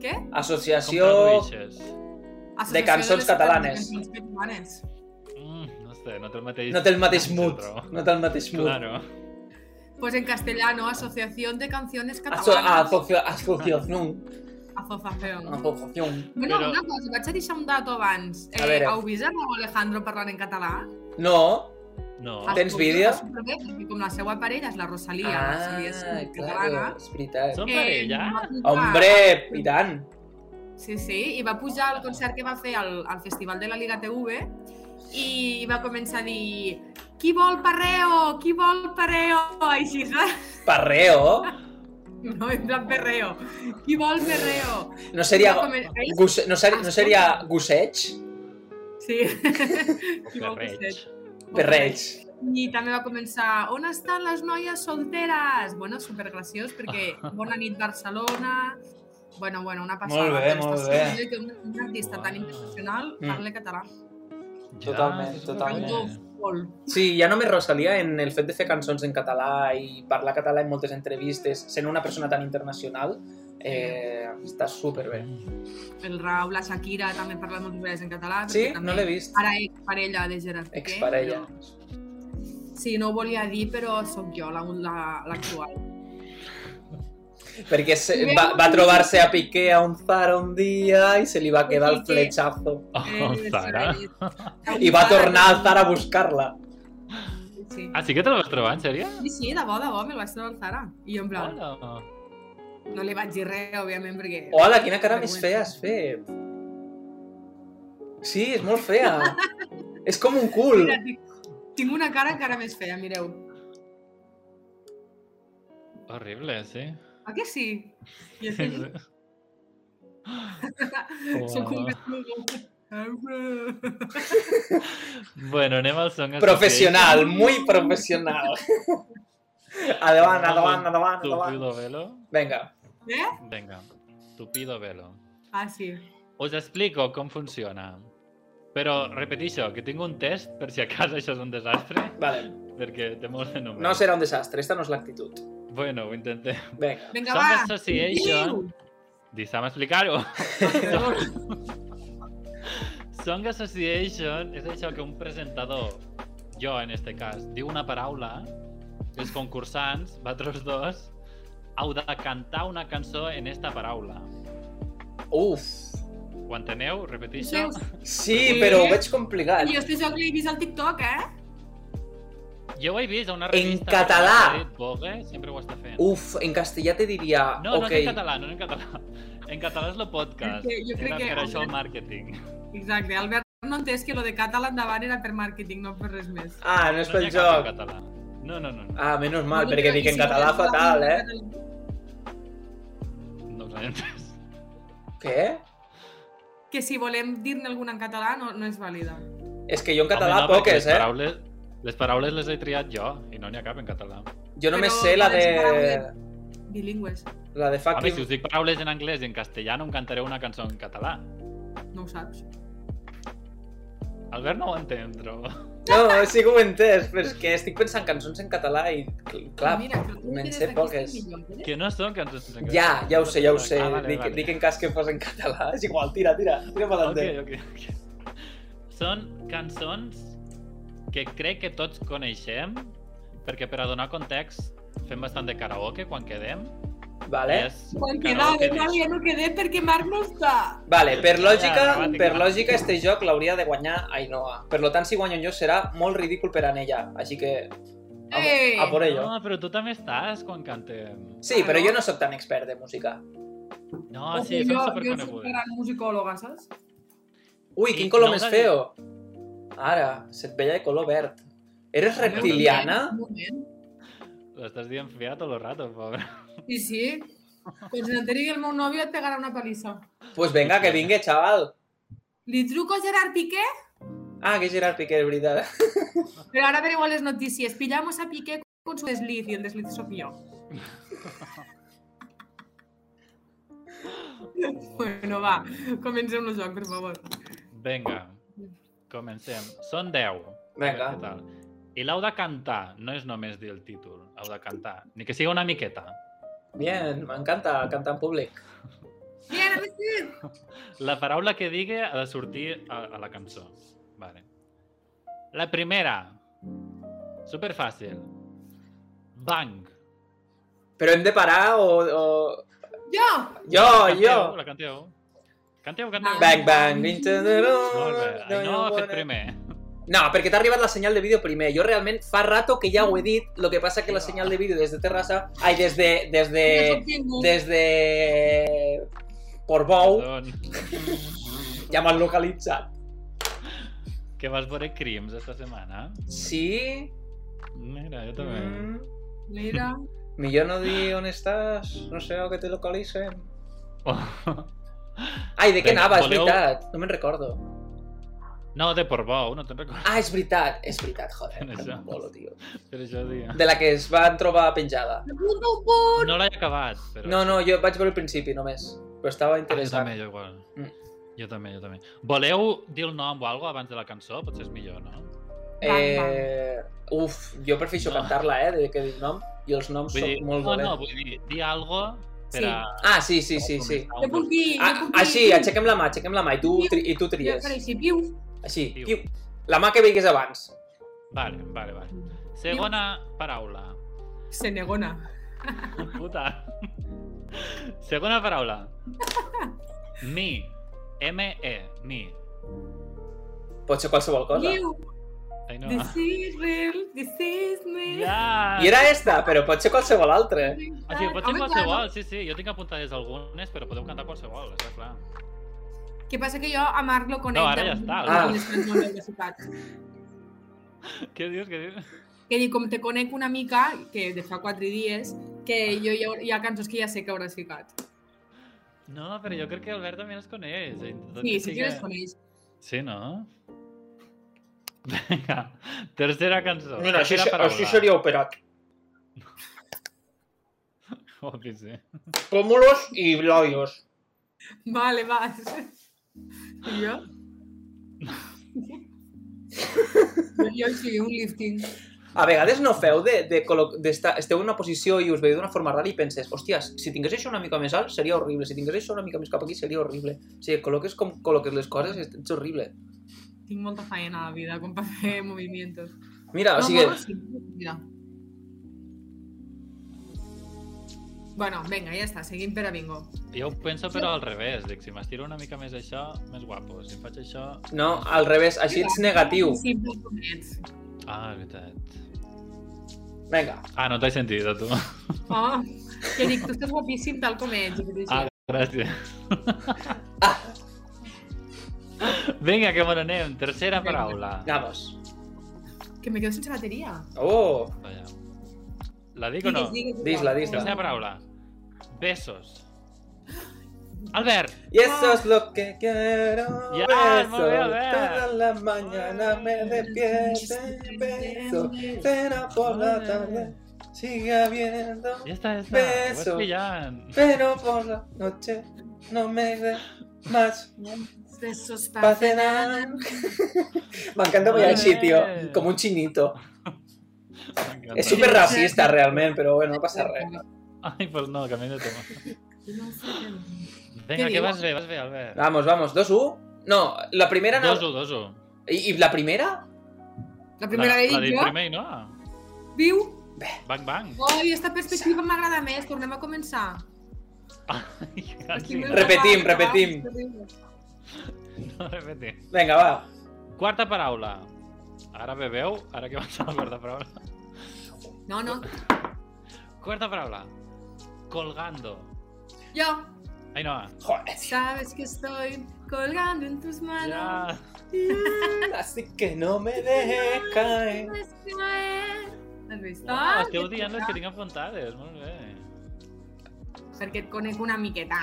[SPEAKER 1] Què?
[SPEAKER 3] Com
[SPEAKER 2] Associació...
[SPEAKER 3] tradueixes?
[SPEAKER 1] Associació
[SPEAKER 2] cançons
[SPEAKER 1] les
[SPEAKER 2] catalanes.
[SPEAKER 1] Cançons catalanes.
[SPEAKER 3] Mm, no sé, no té el mateix...
[SPEAKER 2] No té el mateix mood.
[SPEAKER 3] Trobo.
[SPEAKER 2] No té el mateix mood.
[SPEAKER 3] Claro.
[SPEAKER 1] Pues en castellano, Asociación de Canciones
[SPEAKER 2] Asso-
[SPEAKER 1] Catalanas.
[SPEAKER 2] asocio- Associació.
[SPEAKER 1] Asociación.
[SPEAKER 2] Associació.
[SPEAKER 1] Bueno,
[SPEAKER 3] Però-
[SPEAKER 1] una cosa, vaig a deixar un dato abans.
[SPEAKER 2] A
[SPEAKER 1] Eh,
[SPEAKER 2] veure.
[SPEAKER 1] heu vist a Raúl Alejandro parlant en català?
[SPEAKER 2] No,
[SPEAKER 3] No.
[SPEAKER 2] Ah. Tens
[SPEAKER 1] Escolta,
[SPEAKER 2] vídeo?
[SPEAKER 1] està superbé, perquè Com la seva parella és la Rosalía, la
[SPEAKER 2] Ah,
[SPEAKER 1] Rosalía és catalana. Eh,
[SPEAKER 2] claro, és veritat.
[SPEAKER 3] Són parella?
[SPEAKER 1] va pujar-
[SPEAKER 2] Hombre, i tant.
[SPEAKER 1] Sí, sí, i va pujar al concert que va fer al, al Festival de la Liga TV i va començar a dir qui vol parreo, qui vol parreo, així, saps?
[SPEAKER 2] Parreo.
[SPEAKER 1] No, en plan perreo. Qui vol perreo?
[SPEAKER 2] No seria...
[SPEAKER 1] Va comen- Ell-
[SPEAKER 2] Gose... No, seria, no seria gosseig?
[SPEAKER 1] Sí. Qui vol
[SPEAKER 3] Ferreig.
[SPEAKER 1] gosset?
[SPEAKER 2] Perreig.
[SPEAKER 1] I també va començar, on estan les noies solteres? Bueno, supergraciós, perquè bona nit Barcelona... Bueno, bueno, una passada.
[SPEAKER 2] Molt bé,
[SPEAKER 1] Però
[SPEAKER 2] molt
[SPEAKER 1] està
[SPEAKER 2] bé.
[SPEAKER 1] superbé Que un, un artista tan
[SPEAKER 3] Uau.
[SPEAKER 1] internacional
[SPEAKER 2] Mm.
[SPEAKER 1] parla català.
[SPEAKER 2] Totalment,
[SPEAKER 3] és
[SPEAKER 2] totalment.
[SPEAKER 3] superbé.
[SPEAKER 1] Molt.
[SPEAKER 2] Sí, ja només Rosalia en el fet de fer cançons en català i parlar català en moltes entrevistes, sent una persona tan internacional, eh, està superbé.
[SPEAKER 1] el Raúl, la Shakira, també parla molt bé en català.
[SPEAKER 2] Sí?
[SPEAKER 1] perquè
[SPEAKER 2] No l'he vist.
[SPEAKER 1] Ara exparella de Gerard Piqué.
[SPEAKER 2] Exparella.
[SPEAKER 1] Però... Sí, no ho volia dir, però sóc jo la- la- l'actual. La,
[SPEAKER 2] Perquè se, va, va trobar-se a Piqué a un faro un dia i se li va quedar el flechazo.
[SPEAKER 1] Eh,
[SPEAKER 3] Oh, Sara.
[SPEAKER 2] I va tornar al Zara a buscar-la.
[SPEAKER 1] Sí.
[SPEAKER 3] Ah, sí que te la vas trobar, en sèrio?
[SPEAKER 1] sí, sí, de bo, de bo, me'l vaig trobar al Zara. I jo en plan,
[SPEAKER 3] Hola.
[SPEAKER 1] no li vaig dir res, òbviament, perquè...
[SPEAKER 2] Hola, quina cara més fea has fet. Sí, és molt fea. és com un cul.
[SPEAKER 1] Mira, tinc- tinc una cara encara més fea, mireu.
[SPEAKER 3] Horrible, sí.
[SPEAKER 1] Ah, que sí? I així,
[SPEAKER 3] Uau.
[SPEAKER 1] sóc un besugó.
[SPEAKER 3] Bueno, anem al Song
[SPEAKER 2] Professional, muy professional. Endavant, endavant, endavant, endavant.
[SPEAKER 3] Tupido velo.
[SPEAKER 2] Vinga.
[SPEAKER 1] Eh?
[SPEAKER 3] Venga, tupido velo.
[SPEAKER 1] Ah, sí.
[SPEAKER 3] Us explico com funciona. Però repeteixo, que tinc un test per si a casa això és un desastre,
[SPEAKER 2] Vale.
[SPEAKER 3] perquè té molts de números.
[SPEAKER 2] No serà un desastre, esta no és l'actitud.
[SPEAKER 3] Bueno, ho intentem.
[SPEAKER 2] Vinga.
[SPEAKER 1] Vinga,
[SPEAKER 3] Song
[SPEAKER 1] va.
[SPEAKER 3] eh, Association... Deixa'm explicar-ho. Song Association és això que un presentador, jo en este cas, diu una paraula, els concursants, vosaltres dos, heu de cantar una cançó en esta paraula.
[SPEAKER 2] Uf.
[SPEAKER 3] Ho enteneu? Repeteixo?
[SPEAKER 1] Zeus.
[SPEAKER 2] Sí, però ho veig complicat.
[SPEAKER 1] Jo estic segur que l'he vist al TikTok, eh?
[SPEAKER 3] Jo ho he vist a una revista...
[SPEAKER 2] català.
[SPEAKER 3] de David Bogue, sempre ho està fent.
[SPEAKER 2] Uf, en castellà te diria...
[SPEAKER 3] No, no
[SPEAKER 2] ok.
[SPEAKER 3] és en català, no és en català. En català és el podcast.
[SPEAKER 1] Perquè jo crec
[SPEAKER 3] Era
[SPEAKER 1] que-
[SPEAKER 3] per això el màrqueting.
[SPEAKER 1] Exacte, Albert no entès que lo de català endavant era per màrqueting, no per res més.
[SPEAKER 2] Ah, no és pel
[SPEAKER 3] n'hi ha cap en
[SPEAKER 2] joc.
[SPEAKER 3] català. No, no, no. no.
[SPEAKER 2] Ah, menys mal,
[SPEAKER 1] No,
[SPEAKER 2] perquè
[SPEAKER 1] i
[SPEAKER 2] dic en
[SPEAKER 1] si no,
[SPEAKER 2] català
[SPEAKER 1] no,
[SPEAKER 2] fatal, eh?
[SPEAKER 3] No us he entès.
[SPEAKER 2] Què?
[SPEAKER 1] Que si volem dir-ne alguna en català no, no és vàlida.
[SPEAKER 2] És que jo en
[SPEAKER 3] Home,
[SPEAKER 2] català
[SPEAKER 3] no, perquè
[SPEAKER 2] poques,
[SPEAKER 3] les
[SPEAKER 2] eh?
[SPEAKER 3] Paraules, les paraules les he triat jo i no n'hi ha cap en català.
[SPEAKER 2] Jo només
[SPEAKER 1] Però
[SPEAKER 2] sé la de...
[SPEAKER 1] poques paraules. Bilingües,
[SPEAKER 2] La de
[SPEAKER 3] Home, si
[SPEAKER 2] fucking...
[SPEAKER 3] us dic paraules en anglès i en castellà no em cantaré una cançó en català.
[SPEAKER 1] no ho saps.
[SPEAKER 3] Albert no ho entén, trobo.
[SPEAKER 2] No, sí que ho he entès, però és que estic pensant cançons en català i, cl- clar,
[SPEAKER 1] Mira, però tu
[SPEAKER 2] me'n
[SPEAKER 1] tens
[SPEAKER 2] sé
[SPEAKER 1] aquí
[SPEAKER 2] poques.
[SPEAKER 1] cinc milions, eh?
[SPEAKER 3] Que no són cançons en català.
[SPEAKER 2] ja, ja ho sé, ja ho sé.
[SPEAKER 3] Ah, vale,
[SPEAKER 2] dic,
[SPEAKER 3] vale.
[SPEAKER 2] dic en cas que fos en català. És igual, tira, tira, tira per
[SPEAKER 3] Ok,
[SPEAKER 2] l'endem.
[SPEAKER 3] ok, ok. Són cançons que crec que tots coneixem, perquè per a donar context fem bastant de karaoke quan quedem.
[SPEAKER 2] Vale?
[SPEAKER 3] I és
[SPEAKER 1] Quan
[SPEAKER 3] un
[SPEAKER 1] quedava,
[SPEAKER 3] karaoke
[SPEAKER 1] clar, ja
[SPEAKER 3] dish.
[SPEAKER 1] no quedé perquè Marc no està.
[SPEAKER 2] Vale, per lògica,
[SPEAKER 3] Ja, gramàtica.
[SPEAKER 2] per lògica, este joc l'hauria de guanyar Ainhoa. Per lo tant, si guanyo jo serà molt ridícul per a ella, així que a,
[SPEAKER 1] Ei!
[SPEAKER 2] a por ello.
[SPEAKER 3] No, però tu també estàs quan cantem.
[SPEAKER 2] Sí, però
[SPEAKER 1] Ah, no?
[SPEAKER 2] jo no sóc tan expert de música.
[SPEAKER 3] No,
[SPEAKER 1] O
[SPEAKER 3] Ah, sí,
[SPEAKER 1] sigui, jo,
[SPEAKER 3] són
[SPEAKER 1] jo soc
[SPEAKER 3] superconegudes.
[SPEAKER 1] gran musicòloga, saps?
[SPEAKER 2] Ui,
[SPEAKER 3] I
[SPEAKER 2] quin color
[SPEAKER 3] no
[SPEAKER 2] més
[SPEAKER 3] la-
[SPEAKER 2] feo! Ara, se't veia de color verd. Eres reptiliana?
[SPEAKER 1] Un moment.
[SPEAKER 3] L'estàs dient fiat tot el rato, pobre.
[SPEAKER 1] Sí, sí. Quan se n'enteri que el meu nòvio et pegarà una palissa.
[SPEAKER 2] Pues venga, que vingui, xaval.
[SPEAKER 1] Li truco a Gerard Piqué,
[SPEAKER 2] Ah, que és Gerard Piqué, és veritat.
[SPEAKER 1] però ara vereu a les notícies. Pillamos a Piqué con su desliz i el desliz sóc jo. Bueno, va, comencem el joc, per favor.
[SPEAKER 3] Vinga, comencem. Són 10.
[SPEAKER 2] Vinga.
[SPEAKER 3] A veure què tal. I l'heu de cantar, no és només dir el títol, heu de cantar. Ni que sigui una miqueta.
[SPEAKER 2] Bien, m'encanta cantar en públic.
[SPEAKER 1] Bien, a veure
[SPEAKER 3] La paraula que digui ha de sortir a, a la cançó. Vale. La primera. Superfàcil. Bang.
[SPEAKER 2] Però hem de parar o... o...
[SPEAKER 1] Jo!
[SPEAKER 2] Jo, Oh, jo!
[SPEAKER 3] Canteu, La canteu. Canteu, canteu.
[SPEAKER 2] Bang, bang, into the
[SPEAKER 3] Molt bé.
[SPEAKER 2] road.
[SPEAKER 3] Ai, no,
[SPEAKER 2] you
[SPEAKER 3] ha fet
[SPEAKER 2] wanna-
[SPEAKER 3] primer.
[SPEAKER 2] No, perquè t'ha arribat la senyal de vídeo primer. Jo realment fa rato que ja ho he dit, lo que passa que la
[SPEAKER 3] Sí, va.
[SPEAKER 2] senyal de vídeo des de Terrassa... Ai, des de... Des de...
[SPEAKER 1] Jo sóc ningú.
[SPEAKER 2] Des de... Portbou,
[SPEAKER 3] Perdó.
[SPEAKER 2] ja m'han localitzat.
[SPEAKER 3] Que vas veure crims esta setmana.
[SPEAKER 2] Sí?
[SPEAKER 3] Mira, jo també.
[SPEAKER 2] Mm.
[SPEAKER 1] Mira,
[SPEAKER 2] Millor no dir on estàs, no sé, o que te localicen.
[SPEAKER 3] Oh.
[SPEAKER 2] Ai, de què
[SPEAKER 3] Vinga,
[SPEAKER 2] anava, és
[SPEAKER 3] voleu-
[SPEAKER 2] veritat. No me'n recordo.
[SPEAKER 3] No, de Portbou, no te'n recordes
[SPEAKER 2] Ah, és veritat, és veritat, joder.
[SPEAKER 3] Això.
[SPEAKER 2] que Bolo, tio.
[SPEAKER 3] per això, dia.
[SPEAKER 2] De la que es van trobar penjada.
[SPEAKER 1] un punt, un punt!
[SPEAKER 3] No l'he acabat, però...
[SPEAKER 2] No, no, jo vaig veure el principi només, però estava
[SPEAKER 3] Ah, jo
[SPEAKER 2] interessant.
[SPEAKER 3] també, jo igual.
[SPEAKER 2] Mm.
[SPEAKER 3] Jo també, jo també. Voleu dir el nom o alguna cosa abans de la cançó? Potser és millor, no?
[SPEAKER 2] eh... Uf, jo prefereixo
[SPEAKER 3] No.
[SPEAKER 2] cantar-la, eh, de que dic nom, i els noms
[SPEAKER 3] Vull
[SPEAKER 2] són
[SPEAKER 3] dir,
[SPEAKER 2] molt
[SPEAKER 3] no, no,
[SPEAKER 2] dolents.
[SPEAKER 3] vull dir, dir algo per
[SPEAKER 1] Sí.
[SPEAKER 3] a...
[SPEAKER 2] Ah, sí, sí, sí, sí.
[SPEAKER 1] Jo puc dir, jo
[SPEAKER 2] Ah,
[SPEAKER 1] puc dir...
[SPEAKER 2] així, aixequem la mà, aixequem la mà, i tu, tri i tu
[SPEAKER 1] Jo
[SPEAKER 2] tries.
[SPEAKER 1] faré així, piu.
[SPEAKER 2] Així,
[SPEAKER 3] Piu.
[SPEAKER 2] piu. La mà que veigués abans.
[SPEAKER 3] Vale, vale, vale. Segona paraula.
[SPEAKER 1] Senegona.
[SPEAKER 3] Puta. Segona paraula. Mi. M-E. Mi.
[SPEAKER 2] Pot ser qualsevol cosa.
[SPEAKER 1] Piu,
[SPEAKER 3] Ai, no.
[SPEAKER 1] this is real, this is me.
[SPEAKER 3] Ah. Ja.
[SPEAKER 2] I era esta, però pot ser qualsevol altra.
[SPEAKER 3] O sigui, pot ser
[SPEAKER 1] Home,
[SPEAKER 3] qualsevol, sí, sí. Jo tinc apuntades algunes, però podeu cantar qualsevol, està clar.
[SPEAKER 1] clar, Què passa que jo a Marc lo conec.
[SPEAKER 3] No, ara
[SPEAKER 1] de-
[SPEAKER 3] ja està.
[SPEAKER 2] Ah.
[SPEAKER 1] de les cançons de ciutat.
[SPEAKER 3] Què dius, què dius?
[SPEAKER 1] Que dic, com te conec una mica, que de fa quatre dies, que jo hi ha, hi ha cançons que ja sé que hauràs ficat.
[SPEAKER 3] No, però jo crec que Albert també les coneix. i tot
[SPEAKER 1] Sí,
[SPEAKER 3] i
[SPEAKER 1] sí
[SPEAKER 3] siga-
[SPEAKER 1] que les coneix.
[SPEAKER 3] Sí, no? Vinga, tercera cançó.
[SPEAKER 2] Mira, així,
[SPEAKER 3] tercera
[SPEAKER 2] se-
[SPEAKER 3] paraula.
[SPEAKER 2] així seria operat.
[SPEAKER 3] Oh, que sí.
[SPEAKER 2] Pómulos y labios.
[SPEAKER 1] Vale, vas. I jo? jo sí, un lifting.
[SPEAKER 2] A vegades no feu de, de, colo- d'estar- esteu en una posició i us veieu d'una forma rara i penses, hòsties, si tingués això una mica més alt seria horrible, si tingués això una mica més cap aquí seria horrible. O sigui, col·loques com col·loques les coses és, és horrible.
[SPEAKER 1] Tinc molta faena a la vida com per fer movimientos.
[SPEAKER 2] Mira, Ah, o
[SPEAKER 1] No,
[SPEAKER 2] sigui,
[SPEAKER 1] no, sí, mira. Bueno, venga, ja està, seguim per a bingo.
[SPEAKER 3] Jo ho penso però al revés, dic, si m'estiro una mica més això, més guapo. Si faig això...
[SPEAKER 2] no, al revés, així ets negatiu.
[SPEAKER 1] Sí, ets.
[SPEAKER 3] Ah, és veritat.
[SPEAKER 2] Vinga,
[SPEAKER 3] Ah, no t'he sentit, a tu.
[SPEAKER 1] Oh, que dic, tu estàs guapíssim tal com ets. i que dic,
[SPEAKER 3] Ah, gràcies. Vinga, que me n'anem. Tercera
[SPEAKER 1] Vinga.
[SPEAKER 3] paraula.
[SPEAKER 2] vamos.
[SPEAKER 1] Que me quedo sense bateria.
[SPEAKER 2] Oh,
[SPEAKER 3] Vaja. La dic o no?
[SPEAKER 1] digues,
[SPEAKER 2] Dis-la,
[SPEAKER 1] igual.
[SPEAKER 2] dis-la.
[SPEAKER 3] Tercera paraula. Besos. Albert!
[SPEAKER 2] y eso es lo que quiero.
[SPEAKER 3] Ya,
[SPEAKER 2] beso,
[SPEAKER 3] muy bien, bien.
[SPEAKER 2] toda la mañana me despierto y beso. Cena por la tarde, sigue habiendo.
[SPEAKER 3] Ja està, ja està. Ho
[SPEAKER 2] Besos.
[SPEAKER 3] vas pillant.
[SPEAKER 2] Pero por la noche no me de más
[SPEAKER 1] Besos
[SPEAKER 2] para
[SPEAKER 1] para
[SPEAKER 2] cenar. Me encanta bailar así, tío. Como un chinito.
[SPEAKER 3] M'encanta.
[SPEAKER 2] Es súper racista realmente, pero bueno, no pasa res.
[SPEAKER 3] Ai, pues no, canviem de tema.
[SPEAKER 1] No sé què dir.
[SPEAKER 3] Vinga,
[SPEAKER 1] Què
[SPEAKER 3] que
[SPEAKER 1] diu?
[SPEAKER 3] vas bé, vas bé, Albert.
[SPEAKER 2] Vamos, vamos. 2-1. No, la primera... Ah, no-
[SPEAKER 3] 2-1, 2-1.
[SPEAKER 2] ¿Y, y la primera?
[SPEAKER 1] La primera que he
[SPEAKER 3] La
[SPEAKER 1] dit
[SPEAKER 3] dic
[SPEAKER 1] jo,
[SPEAKER 3] primer i no.
[SPEAKER 1] viu.
[SPEAKER 3] Bang, bang.
[SPEAKER 1] Oi, esta perspectiva m'agrada més, tornem a començar.
[SPEAKER 3] Ai,
[SPEAKER 1] Estic
[SPEAKER 3] gràcies.
[SPEAKER 1] més
[SPEAKER 2] Repetim,
[SPEAKER 1] reparada,
[SPEAKER 2] repetim.
[SPEAKER 1] reparada.
[SPEAKER 3] No repetim.
[SPEAKER 2] Venga, va.
[SPEAKER 3] Quarta paraula. Ara beveu, ara que vas a la quarta paraula.
[SPEAKER 1] No, no.
[SPEAKER 3] Quarta paraula. Colgando.
[SPEAKER 1] Jo,
[SPEAKER 3] Ai, no.
[SPEAKER 2] Joder, tío.
[SPEAKER 1] sabes que estoy colgando en tus manos.
[SPEAKER 3] Ja.
[SPEAKER 2] Así que no me dejes caer.
[SPEAKER 1] Sabes que no es. Has vist?
[SPEAKER 3] Ah, esteu dient les que tinc apuntades. Molt bé.
[SPEAKER 1] Perquè et conec una miqueta.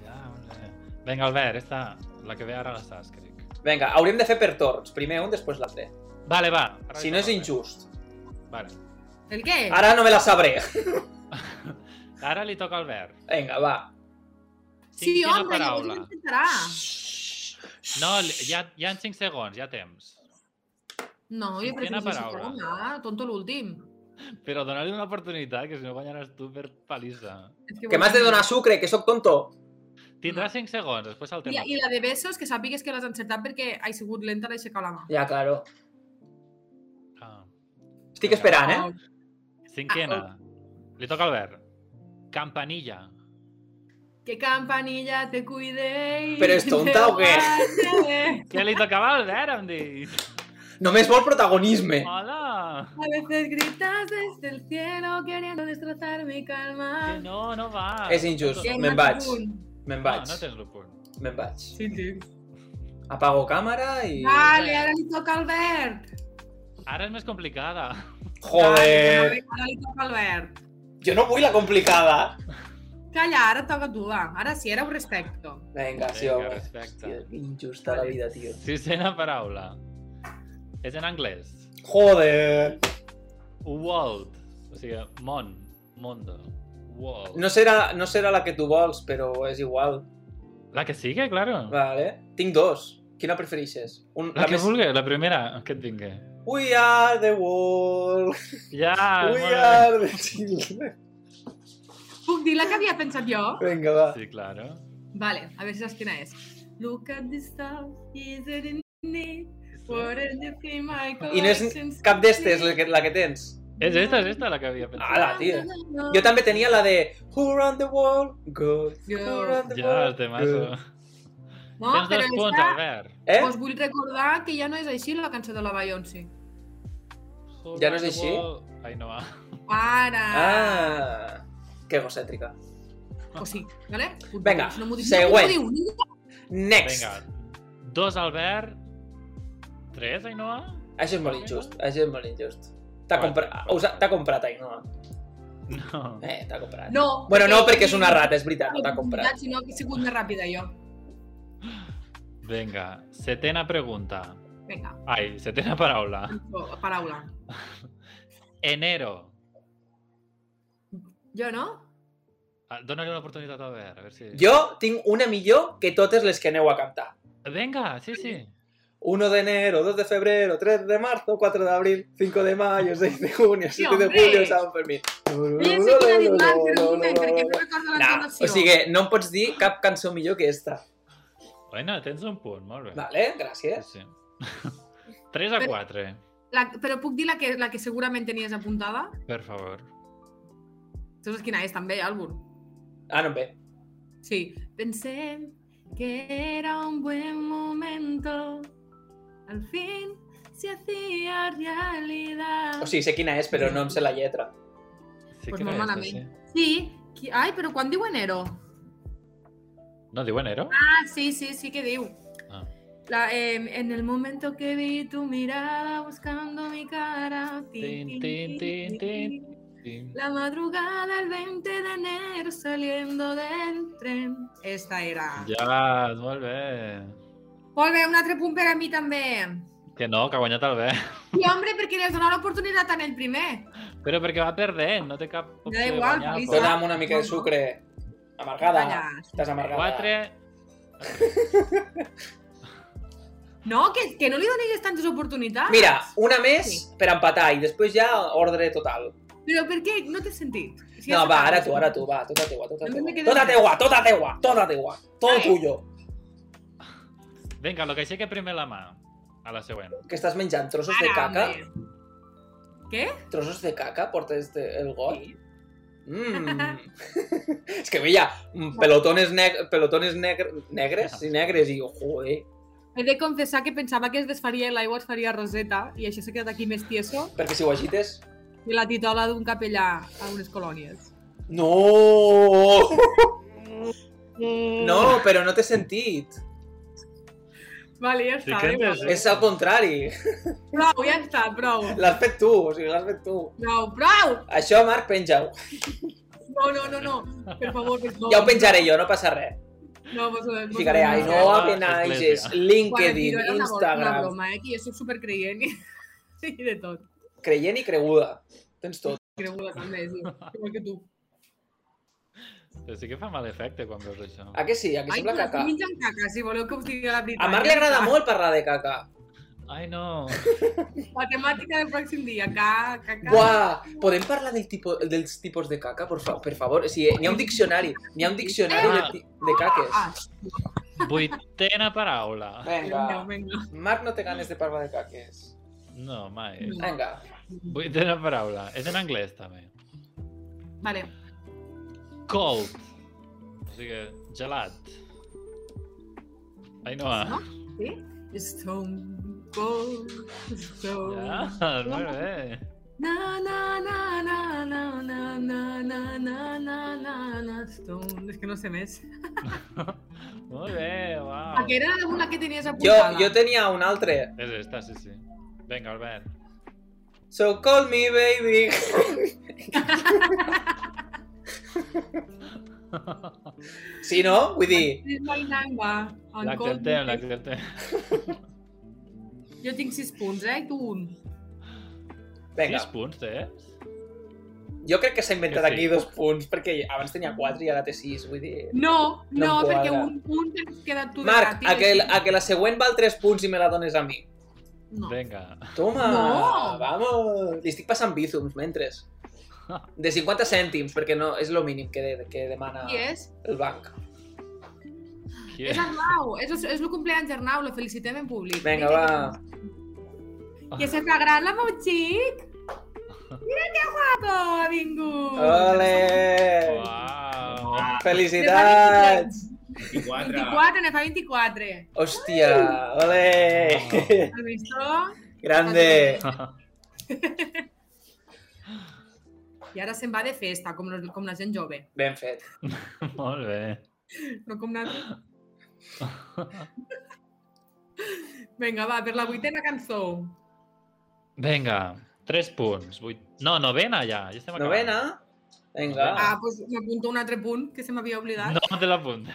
[SPEAKER 3] Ja, molt bé. Vinga, Albert, esta, la que ve ara la saps, crec.
[SPEAKER 2] Venga, hauríem de fer per torns. Primer un, després l'altre.
[SPEAKER 3] Vale, va. Ara
[SPEAKER 2] Si
[SPEAKER 3] li
[SPEAKER 2] no és
[SPEAKER 3] toca.
[SPEAKER 2] injust.
[SPEAKER 3] Vale.
[SPEAKER 1] El què?
[SPEAKER 3] Ah,
[SPEAKER 2] Ara no me la sabré.
[SPEAKER 3] Ara li toca al Albert.
[SPEAKER 2] Venga, va.
[SPEAKER 1] sí,
[SPEAKER 3] Cinquena
[SPEAKER 1] home, llavors
[SPEAKER 3] paraula.
[SPEAKER 1] ho intentarà.
[SPEAKER 3] No, li- hi ha, hi ha 5 segons, hi ha temps.
[SPEAKER 1] No, jo
[SPEAKER 3] Cinquena
[SPEAKER 1] prefereixo la
[SPEAKER 3] paraula.
[SPEAKER 1] segona, ah, tonto l'últim.
[SPEAKER 3] Però donar-li una oportunitat, que si no guanyaràs tu per palissa.
[SPEAKER 1] És
[SPEAKER 2] Que m'has de donar sucre, que sóc tonto.
[SPEAKER 3] Tindràs 5 segons, després el
[SPEAKER 1] I,
[SPEAKER 3] tema.
[SPEAKER 1] I la de besos, que sàpigues que l'has encertat perquè ha sigut lenta d'aixecar la mà.
[SPEAKER 2] Ja, claro.
[SPEAKER 3] Ah.
[SPEAKER 2] Estic esperant,
[SPEAKER 1] Oh,
[SPEAKER 2] eh?
[SPEAKER 3] Cinquena. Li toca al Albert. Campanilla.
[SPEAKER 1] Que campanilla te cuide i...
[SPEAKER 2] Però és tonta o què?
[SPEAKER 1] te guarde.
[SPEAKER 3] Que li tocava al Albert, em dius.
[SPEAKER 2] Només vol protagonisme.
[SPEAKER 3] Ah, Hola!
[SPEAKER 1] A veces gritas desde el cielo queriendo destrozar mi
[SPEAKER 3] Que
[SPEAKER 1] calma.
[SPEAKER 3] no, no va.
[SPEAKER 2] És injust.
[SPEAKER 1] Que no
[SPEAKER 2] Me'n vaig.
[SPEAKER 1] puc.
[SPEAKER 2] Me'n
[SPEAKER 3] No,
[SPEAKER 2] vaig.
[SPEAKER 3] no tens el punt.
[SPEAKER 2] Me'n vaig.
[SPEAKER 1] Sí, sí.
[SPEAKER 2] Apago càmera i...
[SPEAKER 3] Ah,
[SPEAKER 1] Vale, ara li toca al Albert.
[SPEAKER 3] Ara és més complicada.
[SPEAKER 1] Vale,
[SPEAKER 2] Joder.
[SPEAKER 1] ara li toca al Albert.
[SPEAKER 2] Jo no vull la complicada.
[SPEAKER 1] Calla, ara toca tu, va. Ara sí, ara ho respecto.
[SPEAKER 2] Vinga, sí, home.
[SPEAKER 3] respecte.
[SPEAKER 2] Hòstia, que injusta la vida, tio.
[SPEAKER 3] Sisena paraula. És en anglès.
[SPEAKER 2] Joder.
[SPEAKER 3] World. O sigui, món. Mundo. World.
[SPEAKER 2] No serà, no serà la que tu vols, però és igual.
[SPEAKER 3] La que sigue, claro.
[SPEAKER 2] Vale. Tinc dos. Quina prefereixes? Un,
[SPEAKER 3] La que vulgui, la primera que et vingui.
[SPEAKER 2] We are the world. We
[SPEAKER 3] Ja, Ah, molt bé.
[SPEAKER 2] are the children.
[SPEAKER 1] Puc dir la que havia pensat jo?
[SPEAKER 2] Vinga, va.
[SPEAKER 3] Sí, claro.
[SPEAKER 1] Vale, a veure si saps quina és. Look at this stuff, is it in me? What is it in my
[SPEAKER 2] I no és
[SPEAKER 1] collections?
[SPEAKER 2] Cap d'estes la, que, la que tens.
[SPEAKER 3] És esta, és esta la que havia pensat.
[SPEAKER 2] Ala, tio. Jo també tenia la de Who run the world? Good. Who
[SPEAKER 1] Girls.
[SPEAKER 2] run the
[SPEAKER 3] Ja, el
[SPEAKER 2] world?
[SPEAKER 3] temazo.
[SPEAKER 2] Good.
[SPEAKER 1] No,
[SPEAKER 3] Tens
[SPEAKER 1] però
[SPEAKER 3] dos punts,
[SPEAKER 1] esta,
[SPEAKER 3] Albert.
[SPEAKER 2] Eh?
[SPEAKER 1] us vull recordar que ja no és així la cançó de la Beyoncé.
[SPEAKER 2] Ja no és així?
[SPEAKER 3] Ai, no va.
[SPEAKER 1] Ara!
[SPEAKER 2] Ah, que egocèntrica.
[SPEAKER 1] O sigui, vale? Punt
[SPEAKER 2] Vinga,
[SPEAKER 1] dos. no m'ho diu-
[SPEAKER 2] següent.
[SPEAKER 1] No m'ho diu ningú.
[SPEAKER 2] Next.
[SPEAKER 3] Vinga. Dos, Albert. Tres, Ainhoa?
[SPEAKER 2] Això és molt injust, això és molt injust. T'ha
[SPEAKER 3] Bueno.
[SPEAKER 2] comprat, us ha- t'ha comprat, Ainhoa.
[SPEAKER 3] No.
[SPEAKER 2] Eh, t'ha comprat.
[SPEAKER 1] No.
[SPEAKER 2] Bueno, no, perquè és una rata, és veritat, no t'ha comprat.
[SPEAKER 1] Si no, que he sigut més ràpida jo.
[SPEAKER 3] Vinga, setena pregunta.
[SPEAKER 1] Vinga,
[SPEAKER 3] Ai, setena paraula.
[SPEAKER 1] paraula.
[SPEAKER 3] Enero.
[SPEAKER 1] Jo no?
[SPEAKER 3] Ah, Dóna-li una oportunitat a veure, a veure si...
[SPEAKER 2] Jo tinc una millor que totes les que aneu a cantar.
[SPEAKER 3] Vinga, sí, sí.
[SPEAKER 2] 1 de enero, 2 de febrero, 3 de marzo, 4 de abril, 5 de mayo, 6 de junio, 7 de
[SPEAKER 1] hombre!
[SPEAKER 2] julio, San Fermín.
[SPEAKER 1] Ella sí que l'ha dit l'altre, pregunta, perquè no recordo la
[SPEAKER 2] Nah,
[SPEAKER 1] entonació.
[SPEAKER 2] o sigui, no em pots dir cap cançó millor que esta.
[SPEAKER 3] Bueno, tens un punt, molt bé.
[SPEAKER 2] Vale, gràcies.
[SPEAKER 3] Sí, sí. 3 a
[SPEAKER 1] Però-
[SPEAKER 3] 4,
[SPEAKER 1] La, però puc dir la que, la que segurament tenies apuntada?
[SPEAKER 3] per favor.
[SPEAKER 1] Saps quina és, també, Àlbur?
[SPEAKER 2] Ah, no em ve.
[SPEAKER 1] Sí. Pensé que era un buen momento. Al fin se hacía realidad.
[SPEAKER 2] O sigui, sé quina és, però no em sé la lletra.
[SPEAKER 3] Sí
[SPEAKER 1] Pues
[SPEAKER 3] que
[SPEAKER 1] molt
[SPEAKER 3] era esta,
[SPEAKER 1] malament. Sí. qui- Ai, però quan diu enero?
[SPEAKER 3] Sí. No, diu enero?
[SPEAKER 1] Ah, sí, sí, sí que diu.
[SPEAKER 3] Ah.
[SPEAKER 1] La, em, en el momento que vi tu mirada buscando mi cara. tin,
[SPEAKER 3] Tin,
[SPEAKER 1] tin, tin, tin.
[SPEAKER 3] Sí.
[SPEAKER 1] La madrugada del 20 de enero saliendo del tren. Esta era. Ja.
[SPEAKER 3] Ja, molt bé.
[SPEAKER 1] Molt bé, un altre punt per a mi també.
[SPEAKER 3] Que no, que ha guanyat el bé.
[SPEAKER 1] I, home, perquè li has donat l'oportunitat en el primer.
[SPEAKER 3] Però perquè va perdent, no té cap opció de
[SPEAKER 1] igual,
[SPEAKER 3] guanyar.
[SPEAKER 1] Felisa.
[SPEAKER 2] Dona'm una mica de sucre. Amargada.
[SPEAKER 1] Ballas.
[SPEAKER 2] Estàs amargada.
[SPEAKER 3] 4...
[SPEAKER 1] No, que, que no li donis tantes oportunitats.
[SPEAKER 2] Mira, una més
[SPEAKER 1] Sí.
[SPEAKER 2] per empatar i després ja ordre total.
[SPEAKER 1] Però per què? No té sentit. Si
[SPEAKER 2] No,
[SPEAKER 1] has
[SPEAKER 2] va,
[SPEAKER 1] acabat.
[SPEAKER 2] ara tu, ara tu, va, tota teua, tota
[SPEAKER 1] A mi
[SPEAKER 2] teua.
[SPEAKER 1] me queda
[SPEAKER 2] Tota
[SPEAKER 1] bé.
[SPEAKER 2] teua, tota teua, tota teua. Todo
[SPEAKER 1] Vale.
[SPEAKER 2] tuyo.
[SPEAKER 3] Vinga, lo que aixeca primer la mà. A la següent.
[SPEAKER 2] Que estàs menjant trossos de
[SPEAKER 1] Ara,
[SPEAKER 2] caca.
[SPEAKER 1] home.
[SPEAKER 2] Trossos de caca portes de, el got.
[SPEAKER 1] Sí.
[SPEAKER 2] Mm. es que veia mm, pelotones, neg pelotones negr negres i negres i jo, joder,
[SPEAKER 1] He de confessar que pensava que es desfaria i l'aigua, es faria roseta i això s'ha quedat aquí més tieso
[SPEAKER 2] perquè si ho agites...
[SPEAKER 1] que la titola d'un capellà a unes colònies.
[SPEAKER 2] No! No, però no té sentit.
[SPEAKER 1] Vale, ja
[SPEAKER 3] Sí
[SPEAKER 1] està.
[SPEAKER 3] que eh?
[SPEAKER 1] Sí,
[SPEAKER 3] és-
[SPEAKER 2] És al contrari.
[SPEAKER 1] Prou, ja està, prou.
[SPEAKER 2] L'has fet tu, o sigui, l'has fet tu.
[SPEAKER 1] Prou, prou!
[SPEAKER 2] Això, Marc, penja-ho.
[SPEAKER 1] No, no, no, no. Per favor, per favor.
[SPEAKER 2] Ja ho penjaré jo, no passa res.
[SPEAKER 1] No, vos, vos,
[SPEAKER 2] I Ficaré
[SPEAKER 1] vos-
[SPEAKER 2] Ainhoa
[SPEAKER 3] Església.
[SPEAKER 2] Benages,
[SPEAKER 1] Bueno, tio,
[SPEAKER 2] LinkedIn,
[SPEAKER 1] era una, bro- una
[SPEAKER 2] Instagram...
[SPEAKER 1] broma, eh? Que jo soc supercreient i, i de tot.
[SPEAKER 2] Creient i creguda. Tens tot.
[SPEAKER 1] Creguda també, sí. Igual que tu.
[SPEAKER 3] Però sí que fa mal efecte quan veus això.
[SPEAKER 2] A que sí? A que
[SPEAKER 1] Ai,
[SPEAKER 2] sembla
[SPEAKER 1] però
[SPEAKER 2] caca?
[SPEAKER 1] estic menjant caca, si voleu que us digui la veritat.
[SPEAKER 2] A Marc li agrada molt parlar de caca.
[SPEAKER 3] Ai, no.
[SPEAKER 1] La temàtica del pròxim dia, ca, caca.
[SPEAKER 2] Buah, podem parlar del tipo, dels tipus de caca, por, fa, per favor? O sigui, n'hi ha un diccionari, n'hi ha un diccionari de, ti- de
[SPEAKER 1] Ah,
[SPEAKER 2] caques.
[SPEAKER 3] Vuitena paraula.
[SPEAKER 1] vinga,
[SPEAKER 2] Vinga,
[SPEAKER 1] vinga.
[SPEAKER 2] Marc no té ganes de parlar de caques.
[SPEAKER 3] No, mai.
[SPEAKER 1] No.
[SPEAKER 2] Vinga,
[SPEAKER 3] Vuitena paraula. És en anglès, també.
[SPEAKER 1] Vale.
[SPEAKER 3] Cold. O sigui, gelat. Ai, no. eh?
[SPEAKER 1] No? Sí? Stone cold, stone
[SPEAKER 3] Ja, molt bé.
[SPEAKER 1] Na, na, na, na, na, na, na, na, na, na, na, na, stone. És que no sé més.
[SPEAKER 3] Molt bé,
[SPEAKER 2] Ah.
[SPEAKER 3] uau.
[SPEAKER 1] Aquella era alguna que tenies
[SPEAKER 2] jo,
[SPEAKER 1] apuntada.
[SPEAKER 2] jo tenia un altre.
[SPEAKER 3] És esta, sí, sí. Vinga, Albert.
[SPEAKER 2] So call me baby. Sí, no? Vull dir,
[SPEAKER 1] És mainanga. en compte.
[SPEAKER 3] L'acceptem, l'acceptem.
[SPEAKER 1] Jo tinc sis punts, eh? I tu un.
[SPEAKER 2] vinga,
[SPEAKER 3] 6 punts, eh? tens?
[SPEAKER 2] jo crec que s'ha inventat
[SPEAKER 3] Que sí.
[SPEAKER 2] aquí dos punts, perquè abans tenia quatre i ara té sis, vull dir...
[SPEAKER 1] No, no,
[SPEAKER 2] No em
[SPEAKER 1] perquè
[SPEAKER 2] quadra.
[SPEAKER 1] un punt ens queda tu
[SPEAKER 2] Marc,
[SPEAKER 1] de
[SPEAKER 2] a que,
[SPEAKER 1] gratis.
[SPEAKER 2] a que la següent val tres punts i me la dones a mi.
[SPEAKER 1] No.
[SPEAKER 3] Vinga.
[SPEAKER 2] Toma,
[SPEAKER 1] No.
[SPEAKER 2] vamos. Li estic passant bízums mentre. De 50 cèntims, perquè no és el mínim que, de, que demana
[SPEAKER 1] Qui és?
[SPEAKER 2] el banc.
[SPEAKER 3] Qui
[SPEAKER 1] És
[SPEAKER 3] és?
[SPEAKER 1] Arnau, és, és el compleany d'Arnau, lo felicitem en públic.
[SPEAKER 2] Vinga, va.
[SPEAKER 1] Que se fa gran la meu xic. Mira que guapo ha vingut.
[SPEAKER 2] Ole!
[SPEAKER 3] Uau.
[SPEAKER 1] Ne
[SPEAKER 2] Ah,
[SPEAKER 1] fa 24.
[SPEAKER 2] Felicitats!
[SPEAKER 4] 24.
[SPEAKER 1] 24, ne fa 24.
[SPEAKER 2] Hòstia, ole!
[SPEAKER 1] Has vist?
[SPEAKER 2] Grande!
[SPEAKER 1] I ara se'n va de festa, com, los- com la gent jove.
[SPEAKER 2] Ben fet.
[SPEAKER 3] Molt bé.
[SPEAKER 1] No com nosaltres. Vinga, va, per la vuitena cançó.
[SPEAKER 3] Vinga. 3 punts. 8... No, novena ja. ja estem acabant.
[SPEAKER 2] Novena? Vinga. Ah.
[SPEAKER 1] pues Ah, doncs m'apunto un altre punt que se m'havia oblidat.
[SPEAKER 3] No, te l'apunto.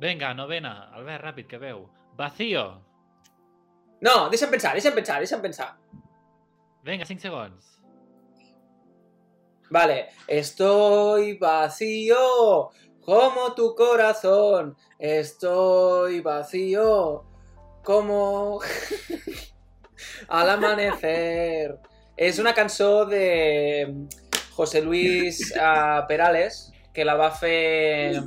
[SPEAKER 3] Vinga, novena. Albert, ràpid, que veu. Vacío.
[SPEAKER 2] No, deixa'm pensar, deixa'm pensar, deixa'm pensar.
[SPEAKER 3] Vinga, 5 segons.
[SPEAKER 2] Vale, estoy vacío, como tu corazón. Estoy vacío, como al amanecer. Es una canción de José Luis ah, Perales que la va a hacer.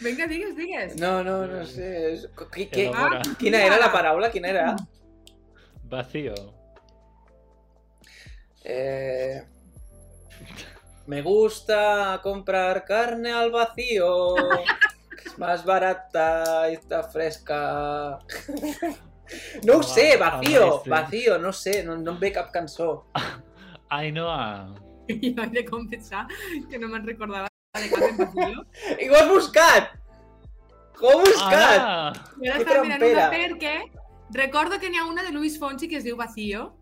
[SPEAKER 1] Vinga, digues, digues.
[SPEAKER 2] No, no, no sé. es- ¿Qué, qué,
[SPEAKER 1] Ah.
[SPEAKER 3] Elabora.
[SPEAKER 2] ¿Quién era la parábola? ¿Quién era?
[SPEAKER 3] Vacío.
[SPEAKER 2] Eh, me gusta comprar carne al vacío. Es más barata y está fresca. No ho sé,
[SPEAKER 3] Home,
[SPEAKER 2] vacío,
[SPEAKER 3] home, sí.
[SPEAKER 2] vacío, no sé, no, no em ve cap cançó.
[SPEAKER 3] Ainhoa.
[SPEAKER 1] Jo he de confessar que no me'n recordava de cap en Vacío.
[SPEAKER 2] I ho has buscat! Ho he buscat!
[SPEAKER 3] Ara!
[SPEAKER 1] Jo ara
[SPEAKER 2] Que
[SPEAKER 1] estava mirant una
[SPEAKER 2] trompera.
[SPEAKER 1] perquè recordo que n'hi ha una de Luis Fonsi que es diu Vacío.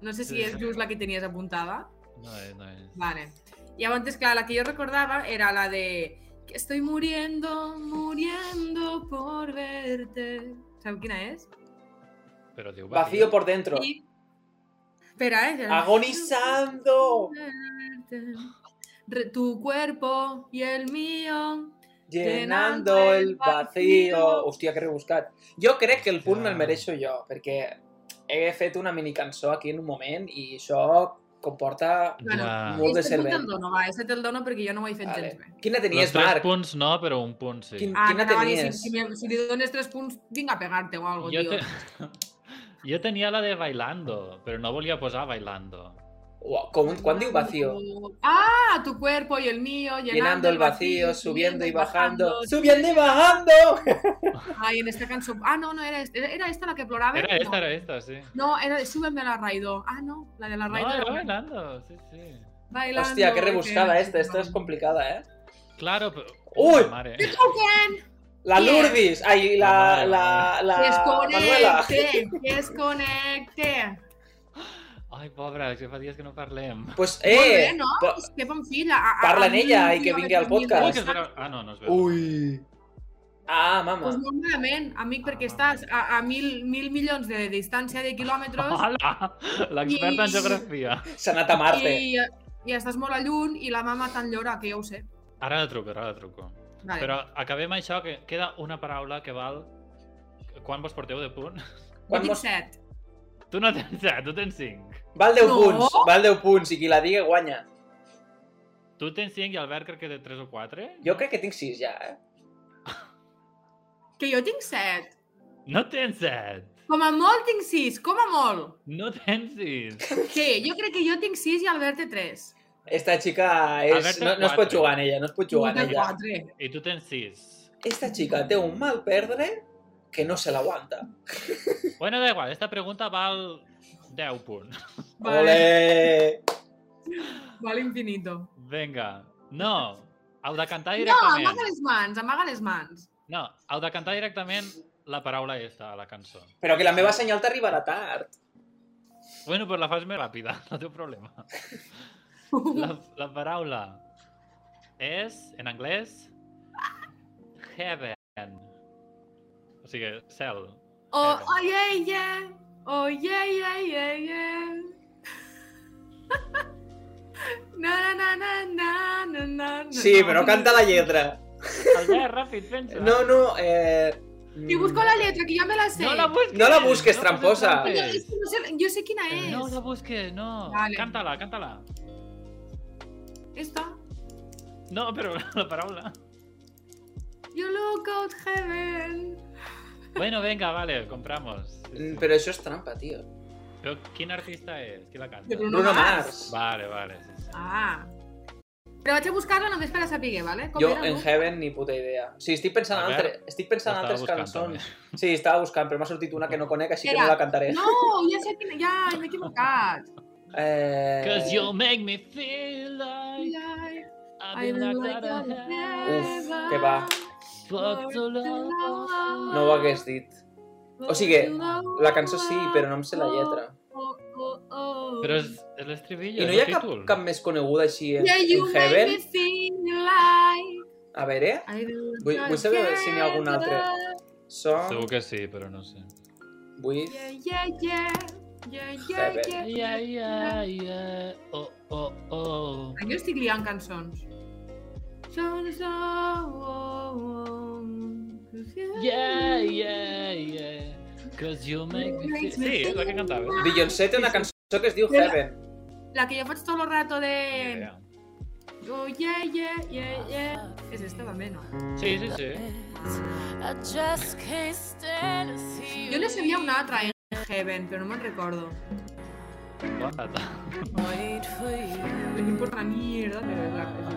[SPEAKER 1] No sé si
[SPEAKER 3] Sí.
[SPEAKER 1] és just la que tenies apuntada.
[SPEAKER 3] No és, no és.
[SPEAKER 1] Vale. Y antes, claro, la que yo recordaba era la de que estoy muriendo, muriendo por verte. ¿Sabes quién es?
[SPEAKER 3] Però diu
[SPEAKER 2] Vacío por dentro.
[SPEAKER 1] Y... Espera, ¿eh?
[SPEAKER 2] Agonizando.
[SPEAKER 1] Re- Tu cuerpo y el mío.
[SPEAKER 2] Llenando el vacío. Hòstia, que rebuscat. Jo crec que el punt me'l mereixo jo, perquè he fet una minicançó aquí en un moment i això comporta...
[SPEAKER 1] Bueno,
[SPEAKER 3] Ja.
[SPEAKER 2] Molt de
[SPEAKER 1] Este punt
[SPEAKER 2] cervell.
[SPEAKER 1] te'l dono, va, este te'l dono perquè jo no ho he fet
[SPEAKER 2] Vale.
[SPEAKER 1] gens bé.
[SPEAKER 2] Quina
[SPEAKER 3] Los
[SPEAKER 2] tenies,
[SPEAKER 3] tres
[SPEAKER 2] Marc?
[SPEAKER 3] punts no, però un punt sí.
[SPEAKER 2] Quin-
[SPEAKER 1] Ah,
[SPEAKER 2] Quina
[SPEAKER 1] anava a dir, si,
[SPEAKER 2] tenies?
[SPEAKER 1] si, me- si li dones tres punts, vinc a pegar-te o algo,
[SPEAKER 3] Jo,
[SPEAKER 1] tio.
[SPEAKER 3] te... jo tenia la de Bailando, però no volia posar Bailando.
[SPEAKER 2] Uau, com, quan diu vacío?
[SPEAKER 1] Ah, tu cuerpo y el mío, llenando,
[SPEAKER 2] Llenando el vacío, subiendo y bajando.
[SPEAKER 1] bajando.
[SPEAKER 2] ¡Subiendo y bajando!
[SPEAKER 1] Ay, en esta canción. Ah, no, no, era esta, era esta la que ploraba.
[SPEAKER 3] Era
[SPEAKER 1] no.
[SPEAKER 3] esta, era esta, sí.
[SPEAKER 1] No, era de Súbeme la Raidó. Ah, no, la de la
[SPEAKER 3] No,
[SPEAKER 1] Raidó.
[SPEAKER 3] era
[SPEAKER 1] era
[SPEAKER 3] Bailando, sí, sí.
[SPEAKER 1] Bailando,
[SPEAKER 2] Hòstia, que rebuscada
[SPEAKER 1] que-
[SPEAKER 2] esta. Esta és complicada, eh?
[SPEAKER 3] Claro, però...
[SPEAKER 2] Ui!
[SPEAKER 3] La Mare. eh.
[SPEAKER 2] La
[SPEAKER 1] Yes.
[SPEAKER 2] Lourdes! Ai, la... la, la, Ah, Manuela!
[SPEAKER 1] Desconecte, desconecte.
[SPEAKER 3] Ai, pobra, que fa dies que no parlem.
[SPEAKER 2] Pues,
[SPEAKER 1] Eh, Molt bé,
[SPEAKER 2] eh...
[SPEAKER 1] no?
[SPEAKER 2] pa-
[SPEAKER 1] És que bon fil. A, a,
[SPEAKER 2] Parla
[SPEAKER 1] a
[SPEAKER 2] en
[SPEAKER 1] mi
[SPEAKER 2] ella i que
[SPEAKER 1] últimament
[SPEAKER 2] vingui al
[SPEAKER 1] em diuen
[SPEAKER 2] podcast.
[SPEAKER 3] Ui,
[SPEAKER 1] coses
[SPEAKER 3] que es veu... Ah, no, no es veu.
[SPEAKER 2] Ui! Ah, mama.
[SPEAKER 1] Pues molt malament, amic, perquè estàs a, a mil, mil milions de distància de quilòmetres
[SPEAKER 3] Hola! L'experta en
[SPEAKER 1] I-
[SPEAKER 3] geografia.
[SPEAKER 2] S'ha anat a Marte.
[SPEAKER 1] i, i estàs molt a lluny i la mama tan llora que ja ho sé.
[SPEAKER 3] Ara la truco, ara la truco.
[SPEAKER 1] Vale.
[SPEAKER 3] Però acabem això, que queda una paraula que val... Quan vos porteu de punt?
[SPEAKER 1] Jo
[SPEAKER 2] Quan
[SPEAKER 1] tinc
[SPEAKER 2] mos...
[SPEAKER 1] set.
[SPEAKER 3] Tu no tens set, tu tens 5.
[SPEAKER 2] Val 10
[SPEAKER 1] No.
[SPEAKER 2] punts, val 10 punts, i qui la digui guanya.
[SPEAKER 3] Tu tens 5 i Albert crec que de 3 o 4?
[SPEAKER 2] Jo crec que tinc 6 ja, eh?
[SPEAKER 1] Que jo tinc set.
[SPEAKER 3] No tens 7!
[SPEAKER 1] Com a molt tinc sis, com a molt.
[SPEAKER 3] No tens 6!
[SPEAKER 1] Sí, jo crec que jo tinc sis i Albert té tres.
[SPEAKER 2] Esta xica és...
[SPEAKER 3] Albert té
[SPEAKER 2] No, no es pot
[SPEAKER 3] quatre.
[SPEAKER 2] jugar en ella, no es pot jugar en
[SPEAKER 1] Jo tinc
[SPEAKER 2] ella.
[SPEAKER 1] quatre.
[SPEAKER 3] I tu tens 6.
[SPEAKER 2] Esta xica té un mal perdre que no se l'aguanta.
[SPEAKER 3] Bueno, da igual, esta pregunta val 10 punts.
[SPEAKER 1] Vale,
[SPEAKER 2] Ole!
[SPEAKER 1] vale infinito.
[SPEAKER 3] Vinga. No, heu de cantar
[SPEAKER 1] No,
[SPEAKER 3] directament.
[SPEAKER 1] amaga les mans, amaga les mans.
[SPEAKER 3] No, heu de cantar directament la paraula esta, la cançó.
[SPEAKER 2] Però que la meva senyal t'arribarà tard.
[SPEAKER 3] Bueno, pues la fas més ràpida, no teu problema. La, la paraula és, en anglès, heaven. O sigui, cel.
[SPEAKER 1] Oh, oh, yeah, yeah. Oh, yeah, yeah, yeah, yeah. Na, na, na, na, na, na, na.
[SPEAKER 2] Sí, però canta la lletra.
[SPEAKER 3] Albert, ràpid, pensa.
[SPEAKER 2] No, no, eh...
[SPEAKER 1] Si busco la lletra, que jo me la sé.
[SPEAKER 3] no la busques.
[SPEAKER 2] No la busques,
[SPEAKER 3] no
[SPEAKER 2] tramposa.
[SPEAKER 1] Jo, és
[SPEAKER 3] busques.
[SPEAKER 1] que no sé, jo sé quina és.
[SPEAKER 3] No la busques, no.
[SPEAKER 1] Vale.
[SPEAKER 3] Canta-la, canta-la.
[SPEAKER 1] Esta.
[SPEAKER 3] No, però la paraula.
[SPEAKER 1] You look out heaven.
[SPEAKER 3] Bueno, venga, vale, compramos.
[SPEAKER 2] Mm, Però això és trampa, tio.
[SPEAKER 3] Però quin artista és? Qui la canta?
[SPEAKER 1] De Bruno,
[SPEAKER 2] Bruno
[SPEAKER 1] Mars.
[SPEAKER 2] Mars.
[SPEAKER 3] Vale, vale, sí, sí.
[SPEAKER 1] Ah. Però vaig a buscar-la només per a saber, vale? Com
[SPEAKER 2] Jo,
[SPEAKER 1] era,
[SPEAKER 2] en
[SPEAKER 1] no?
[SPEAKER 2] Heaven, ni puta idea. Sí, estic pensant en
[SPEAKER 3] A veure,
[SPEAKER 2] altres, estic pensant en
[SPEAKER 3] l'estava
[SPEAKER 2] altres
[SPEAKER 3] buscant,
[SPEAKER 2] cançons. Sí, estava buscant, però m'ha sortit una que no conec, així que no
[SPEAKER 1] Era-
[SPEAKER 2] la cantaré.
[SPEAKER 1] No, ja sé quina... Ja, m'he equivocat.
[SPEAKER 2] Eh...
[SPEAKER 3] Cause you make me feel like
[SPEAKER 1] I
[SPEAKER 3] I've been
[SPEAKER 1] look
[SPEAKER 3] locked out of
[SPEAKER 1] out
[SPEAKER 3] hell
[SPEAKER 2] Uf, que va.
[SPEAKER 3] for so long.
[SPEAKER 2] No ho hagués dit. O sigui, La cançó sí, però no em sé la lletra.
[SPEAKER 1] Oh, oh, oh.
[SPEAKER 3] Però és, és l'estribillo,
[SPEAKER 2] I no
[SPEAKER 3] és
[SPEAKER 2] hi ha
[SPEAKER 3] el
[SPEAKER 2] cap,
[SPEAKER 3] títol.
[SPEAKER 2] cap més coneguda així en,
[SPEAKER 1] Yeah, you
[SPEAKER 2] en
[SPEAKER 1] make
[SPEAKER 2] Heaven?
[SPEAKER 1] me feel like
[SPEAKER 2] A veure,
[SPEAKER 1] I don't
[SPEAKER 2] Vull- vull saber si n'hi ha algun
[SPEAKER 1] care.
[SPEAKER 2] Song...
[SPEAKER 3] Segur que sí, però no sé.
[SPEAKER 2] With...
[SPEAKER 1] Yeah, yeah, yeah. Yeah, yeah,
[SPEAKER 2] Saber.
[SPEAKER 1] yeah.
[SPEAKER 3] Yeah, yeah, yeah. Oh, oh, oh.
[SPEAKER 1] Jo estic liant cançons. Songs of war.
[SPEAKER 3] Yeah, yeah, yeah. Cause you make me feel... Sí, és la que ¿eh? cantava.
[SPEAKER 2] Beyoncé té una cançó que es diu Heaven.
[SPEAKER 1] La que jo faig tot el rato de...
[SPEAKER 3] Yeah.
[SPEAKER 1] Oh, yeah, yeah, yeah, yeah. És esta també, no?
[SPEAKER 3] Sí, sí, sí.
[SPEAKER 4] I just can't stand to see you
[SPEAKER 1] Jo ne sabia una altra, eh? Heaven, però no me'n recordo.
[SPEAKER 3] Bona tarda.
[SPEAKER 4] Wait for
[SPEAKER 1] Venim
[SPEAKER 4] you.
[SPEAKER 1] per em la mierda, però és la cosa.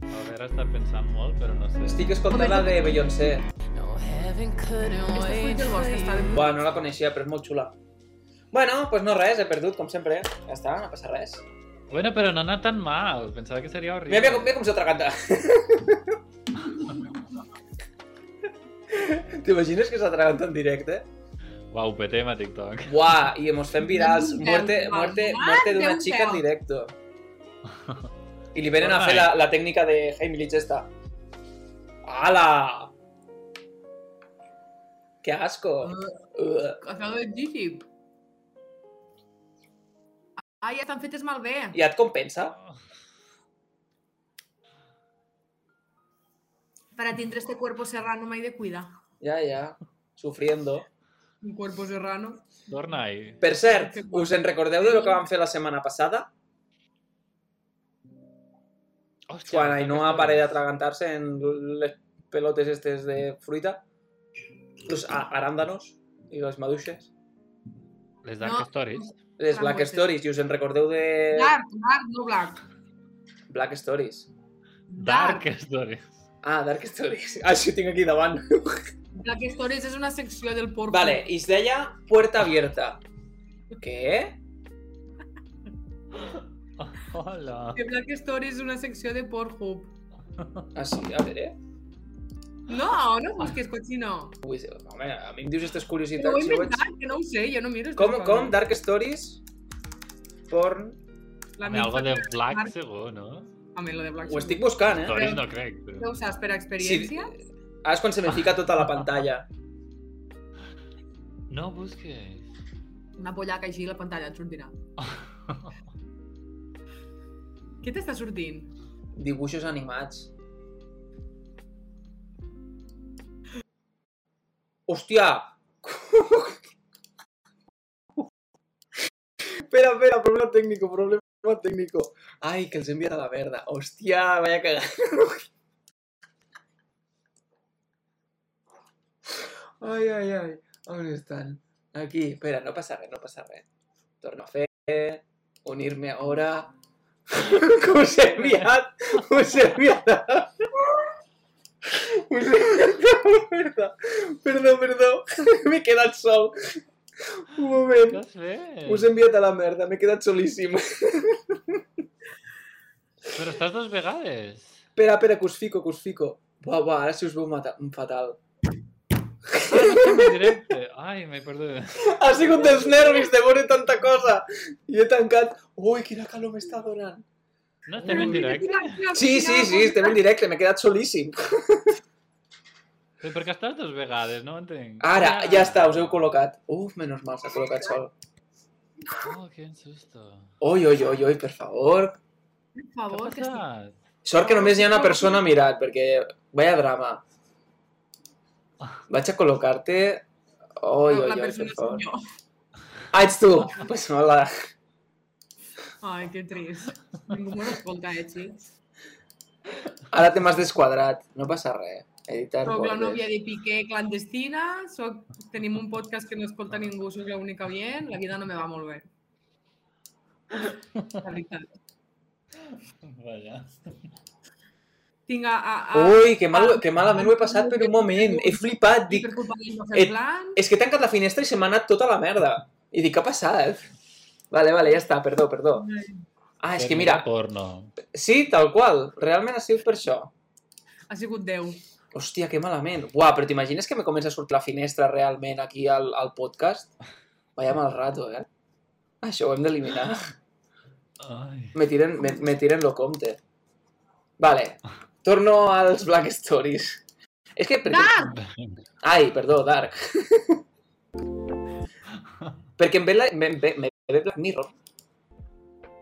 [SPEAKER 3] A veure, està pensant molt, però no sé.
[SPEAKER 2] Estic escoltant la de Beyoncé.
[SPEAKER 4] No heaven couldn't
[SPEAKER 1] Aquesta fruit
[SPEAKER 4] wait
[SPEAKER 1] del
[SPEAKER 4] for
[SPEAKER 1] bosc està
[SPEAKER 4] you.
[SPEAKER 1] de puta.
[SPEAKER 2] Buah, no la coneixia, però és molt xula. Bueno, doncs pues no res, he perdut, com sempre. Ja està, no passa res.
[SPEAKER 3] Bueno, però no ha anat tan mal. Pensava que seria horrible.
[SPEAKER 2] Mira, mira, com- mira com s'ha tragat. T'imagines que s'ha tragat en directe?
[SPEAKER 3] Uau, petem a TikTok.
[SPEAKER 2] Buah, i mos fem virals. Muerte, muerte, muerte d'una
[SPEAKER 1] Déu
[SPEAKER 2] xica en
[SPEAKER 1] meu.
[SPEAKER 2] directo. I li venen a fer la, la tècnica de Hey Milich esta. Ala! Que asco. Uh.
[SPEAKER 1] Acabo de dir Ah, ja estan fetes malbé.
[SPEAKER 2] Ja et compensa?
[SPEAKER 1] Para tindre este cuerpo serrano m'he de cuidar.
[SPEAKER 2] Ja, ja. Sufriendo.
[SPEAKER 1] Un cuerpo serrano.
[SPEAKER 3] Torna-hi.
[SPEAKER 2] Per cert, us en recordeu de lo que vam fer la setmana passada?
[SPEAKER 3] Hòstia,
[SPEAKER 2] Quan
[SPEAKER 3] aquesta
[SPEAKER 2] Ainhoa
[SPEAKER 3] és-
[SPEAKER 2] pare d'atragantar-se en les pelotes estes de fruita, los a- arándanos i les maduixes,
[SPEAKER 3] Les Dark
[SPEAKER 1] No.
[SPEAKER 3] Stories.
[SPEAKER 2] les Black
[SPEAKER 1] Frambueses.
[SPEAKER 2] Stories, i us en recordeu de
[SPEAKER 1] Eh, Dark, dark, no black.
[SPEAKER 2] Black Stories?
[SPEAKER 3] Dark Stories.
[SPEAKER 2] Ah, Dark Stories. Ah, sí, ho tinc aquí davant.
[SPEAKER 1] Black Stories és una secció del porco.
[SPEAKER 2] Vale, i es deia Puerta Abierta. Què?
[SPEAKER 3] Hola.
[SPEAKER 1] Que Black Stories és una secció de Pornhub.
[SPEAKER 2] Ah, sí, a veure.
[SPEAKER 1] No, no busques cochino.
[SPEAKER 2] Ui, home, a mi em dius aquestes
[SPEAKER 1] Però ho he
[SPEAKER 2] curiositats. jo doncs, vaig-
[SPEAKER 1] inventat, que no ho sé, jo no miro.
[SPEAKER 2] Com,
[SPEAKER 1] aquestes
[SPEAKER 2] com?
[SPEAKER 1] coses.
[SPEAKER 2] Dark Stories? Porn?
[SPEAKER 1] La
[SPEAKER 3] Home, algo
[SPEAKER 1] minfa-
[SPEAKER 3] de Black segur, no?
[SPEAKER 1] Home, lo de Black
[SPEAKER 2] Ho estic buscant, eh?
[SPEAKER 3] Stories no crec, però...
[SPEAKER 1] Ja ho saps per experiència? Sí.
[SPEAKER 2] Ara és quan se me fica tota la pantalla.
[SPEAKER 3] No busquis.
[SPEAKER 1] Una pollaca així a la pantalla et sortirà. Què t'està sortint?
[SPEAKER 2] Dibuixos animats. Hòstia! espera, espera, problema técnico, problema técnico. Ai, que els he enviat a la merda. Hòstia, vaya cagada. ai, ai, ai. On estan? Aquí. Espera, no passa res, no passa res. Torno a fer, unir-me ahora. que us he enviat, us he enviat. a- Us he enviat a la merda. Perdó, perdó. M'he quedat sol. Un moment.
[SPEAKER 3] Què has fet?
[SPEAKER 2] Us he enviat a la merda, m'he quedat solíssim.
[SPEAKER 3] Però estàs dos vegades.
[SPEAKER 2] Espera, espera, que us fico, que us fico. Buah, buah, ara si us veu mata- fatal.
[SPEAKER 3] Ah, no estem en directe. Ai, m'he perdut.
[SPEAKER 2] Ha sigut dels nervis de veure tanta cosa. I he tancat... Ui, quina calor m'està donant.
[SPEAKER 3] No estem en directe?
[SPEAKER 2] Sí, sí, sí, estem en directe, m'he quedat solíssim.
[SPEAKER 3] Però per què estàs dos vegades? No ho entenc.
[SPEAKER 2] Ara, ja està, us heu col·locat. Uf, menys mal, s'ha col·locat sol.
[SPEAKER 3] Oh, quin susto.
[SPEAKER 2] Oi, oi, oi, oi, per favor.
[SPEAKER 1] Per
[SPEAKER 3] Què ha
[SPEAKER 1] favor, que estic...
[SPEAKER 3] passat?
[SPEAKER 2] Sort que només hi ha una persona mirat, perquè... Vaya drama. Vaig a col·locar-te... Oi, oi,
[SPEAKER 1] la
[SPEAKER 2] oi, per
[SPEAKER 1] persona soc
[SPEAKER 2] favor.
[SPEAKER 1] jo.
[SPEAKER 2] Ah, ets tu! Pues hola.
[SPEAKER 1] Ai, que trist. Ningú m'ho escolta, eh, xics?
[SPEAKER 2] Ara te m'has desquadrat. No passa res. Editar
[SPEAKER 1] Soc la
[SPEAKER 2] bordes.
[SPEAKER 1] nòvia de Piqué clandestina, soc... tenim un podcast que no escolta ningú, soc l'única bien, la vida no me va molt bé. La veritat.
[SPEAKER 3] Vaja.
[SPEAKER 1] Tinc a... a, a...
[SPEAKER 2] Ui, que,
[SPEAKER 1] ah,
[SPEAKER 2] mal, que malament ho he passat per un moment. He flipat.
[SPEAKER 1] Dic...
[SPEAKER 2] Dic,
[SPEAKER 1] Per culpa d'ell no
[SPEAKER 2] Et-
[SPEAKER 1] fer plan.
[SPEAKER 2] és que he tancat la finestra i se m'ha anat tota la merda. I dic, què ha passat? Vale, vale, ja està, perdó, perdó. Ah,
[SPEAKER 3] Doncs
[SPEAKER 2] és que mira,
[SPEAKER 3] Porno.
[SPEAKER 2] sí, tal qual, realment ha sigut per això.
[SPEAKER 1] Ha sigut Déu.
[SPEAKER 2] Hòstia, que malament. Buah, però t'imagines que me comença a sortir la finestra realment aquí al, al podcast? Vaya mal rato, eh? Això ho hem d'eliminar.
[SPEAKER 3] Ai.
[SPEAKER 2] Me tiren, me, me tiren lo compte. Vale, torno als Black Stories. És que... perquè-
[SPEAKER 3] Ah!
[SPEAKER 2] Ai, perdó, Dark. Perquè em ve, la, me, me, me ve Black Mirror.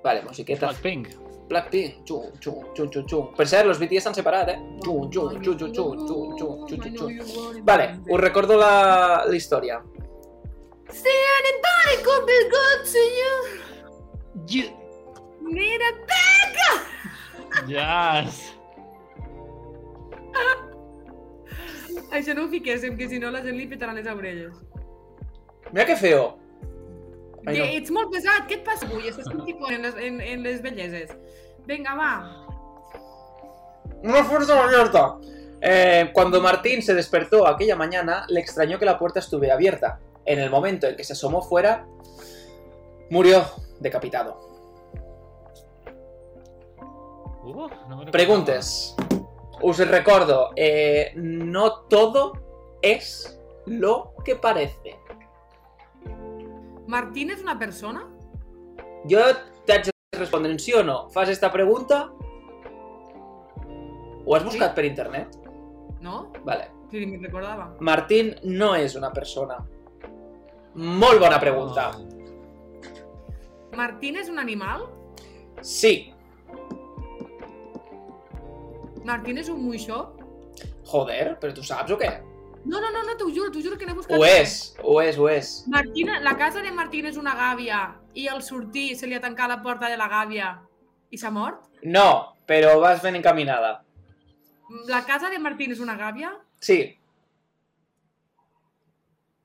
[SPEAKER 2] Vale, musiqueta.
[SPEAKER 3] Blackpink.
[SPEAKER 2] Blackpink, xum, xum, xum, xum, xum. Per cert, los BTS s'han separat, eh? Xum, xum, xum, xum, xum, xum, xum, xum, xum, xum. Vale, us recordo la, la història.
[SPEAKER 1] See anybody could be good to you. Need a backup.
[SPEAKER 3] Yes!
[SPEAKER 1] Això no ho fiquéssim, que si no la gent li petaran les orelles.
[SPEAKER 2] Mira que feo. Ai,
[SPEAKER 1] Que
[SPEAKER 2] no.
[SPEAKER 1] ets molt pesat, què et passa avui? Estàs continuant en les, en, en les belleses. Vinga, va.
[SPEAKER 2] Una fuerza abierta. Eh, cuando Martín se despertó aquella mañana, le extrañó que la puerta estuviera abierta. En el momento en que se asomó fuera, murió decapitado.
[SPEAKER 3] Uh, no me
[SPEAKER 2] Preguntes. Os recuerdo, eh, no todo es lo que parece.
[SPEAKER 1] Martín és una persona?
[SPEAKER 2] Yo te haig de responder en sí o no. ¿Fas esta pregunta? ¿O has buscado por internet?
[SPEAKER 1] No?
[SPEAKER 2] Vale.
[SPEAKER 1] Si ni me'n recordava.
[SPEAKER 2] Martín no es una persona. Muy buena pregunta.
[SPEAKER 1] Martín és un animal?
[SPEAKER 2] Sí,
[SPEAKER 1] Martín és un moixó?
[SPEAKER 2] Joder, però tu saps o què?
[SPEAKER 1] No, no, no, no t'ho juro, t'ho juro que n'he buscat.
[SPEAKER 2] Ho és, ho és, ho és.
[SPEAKER 1] Martina, la casa de Martín és una gàbia i al sortir se li ha tancat la porta de la gàbia i s'ha mort?
[SPEAKER 2] No, però vas ben encaminada.
[SPEAKER 1] La casa de Martín és una gàbia
[SPEAKER 2] Sí.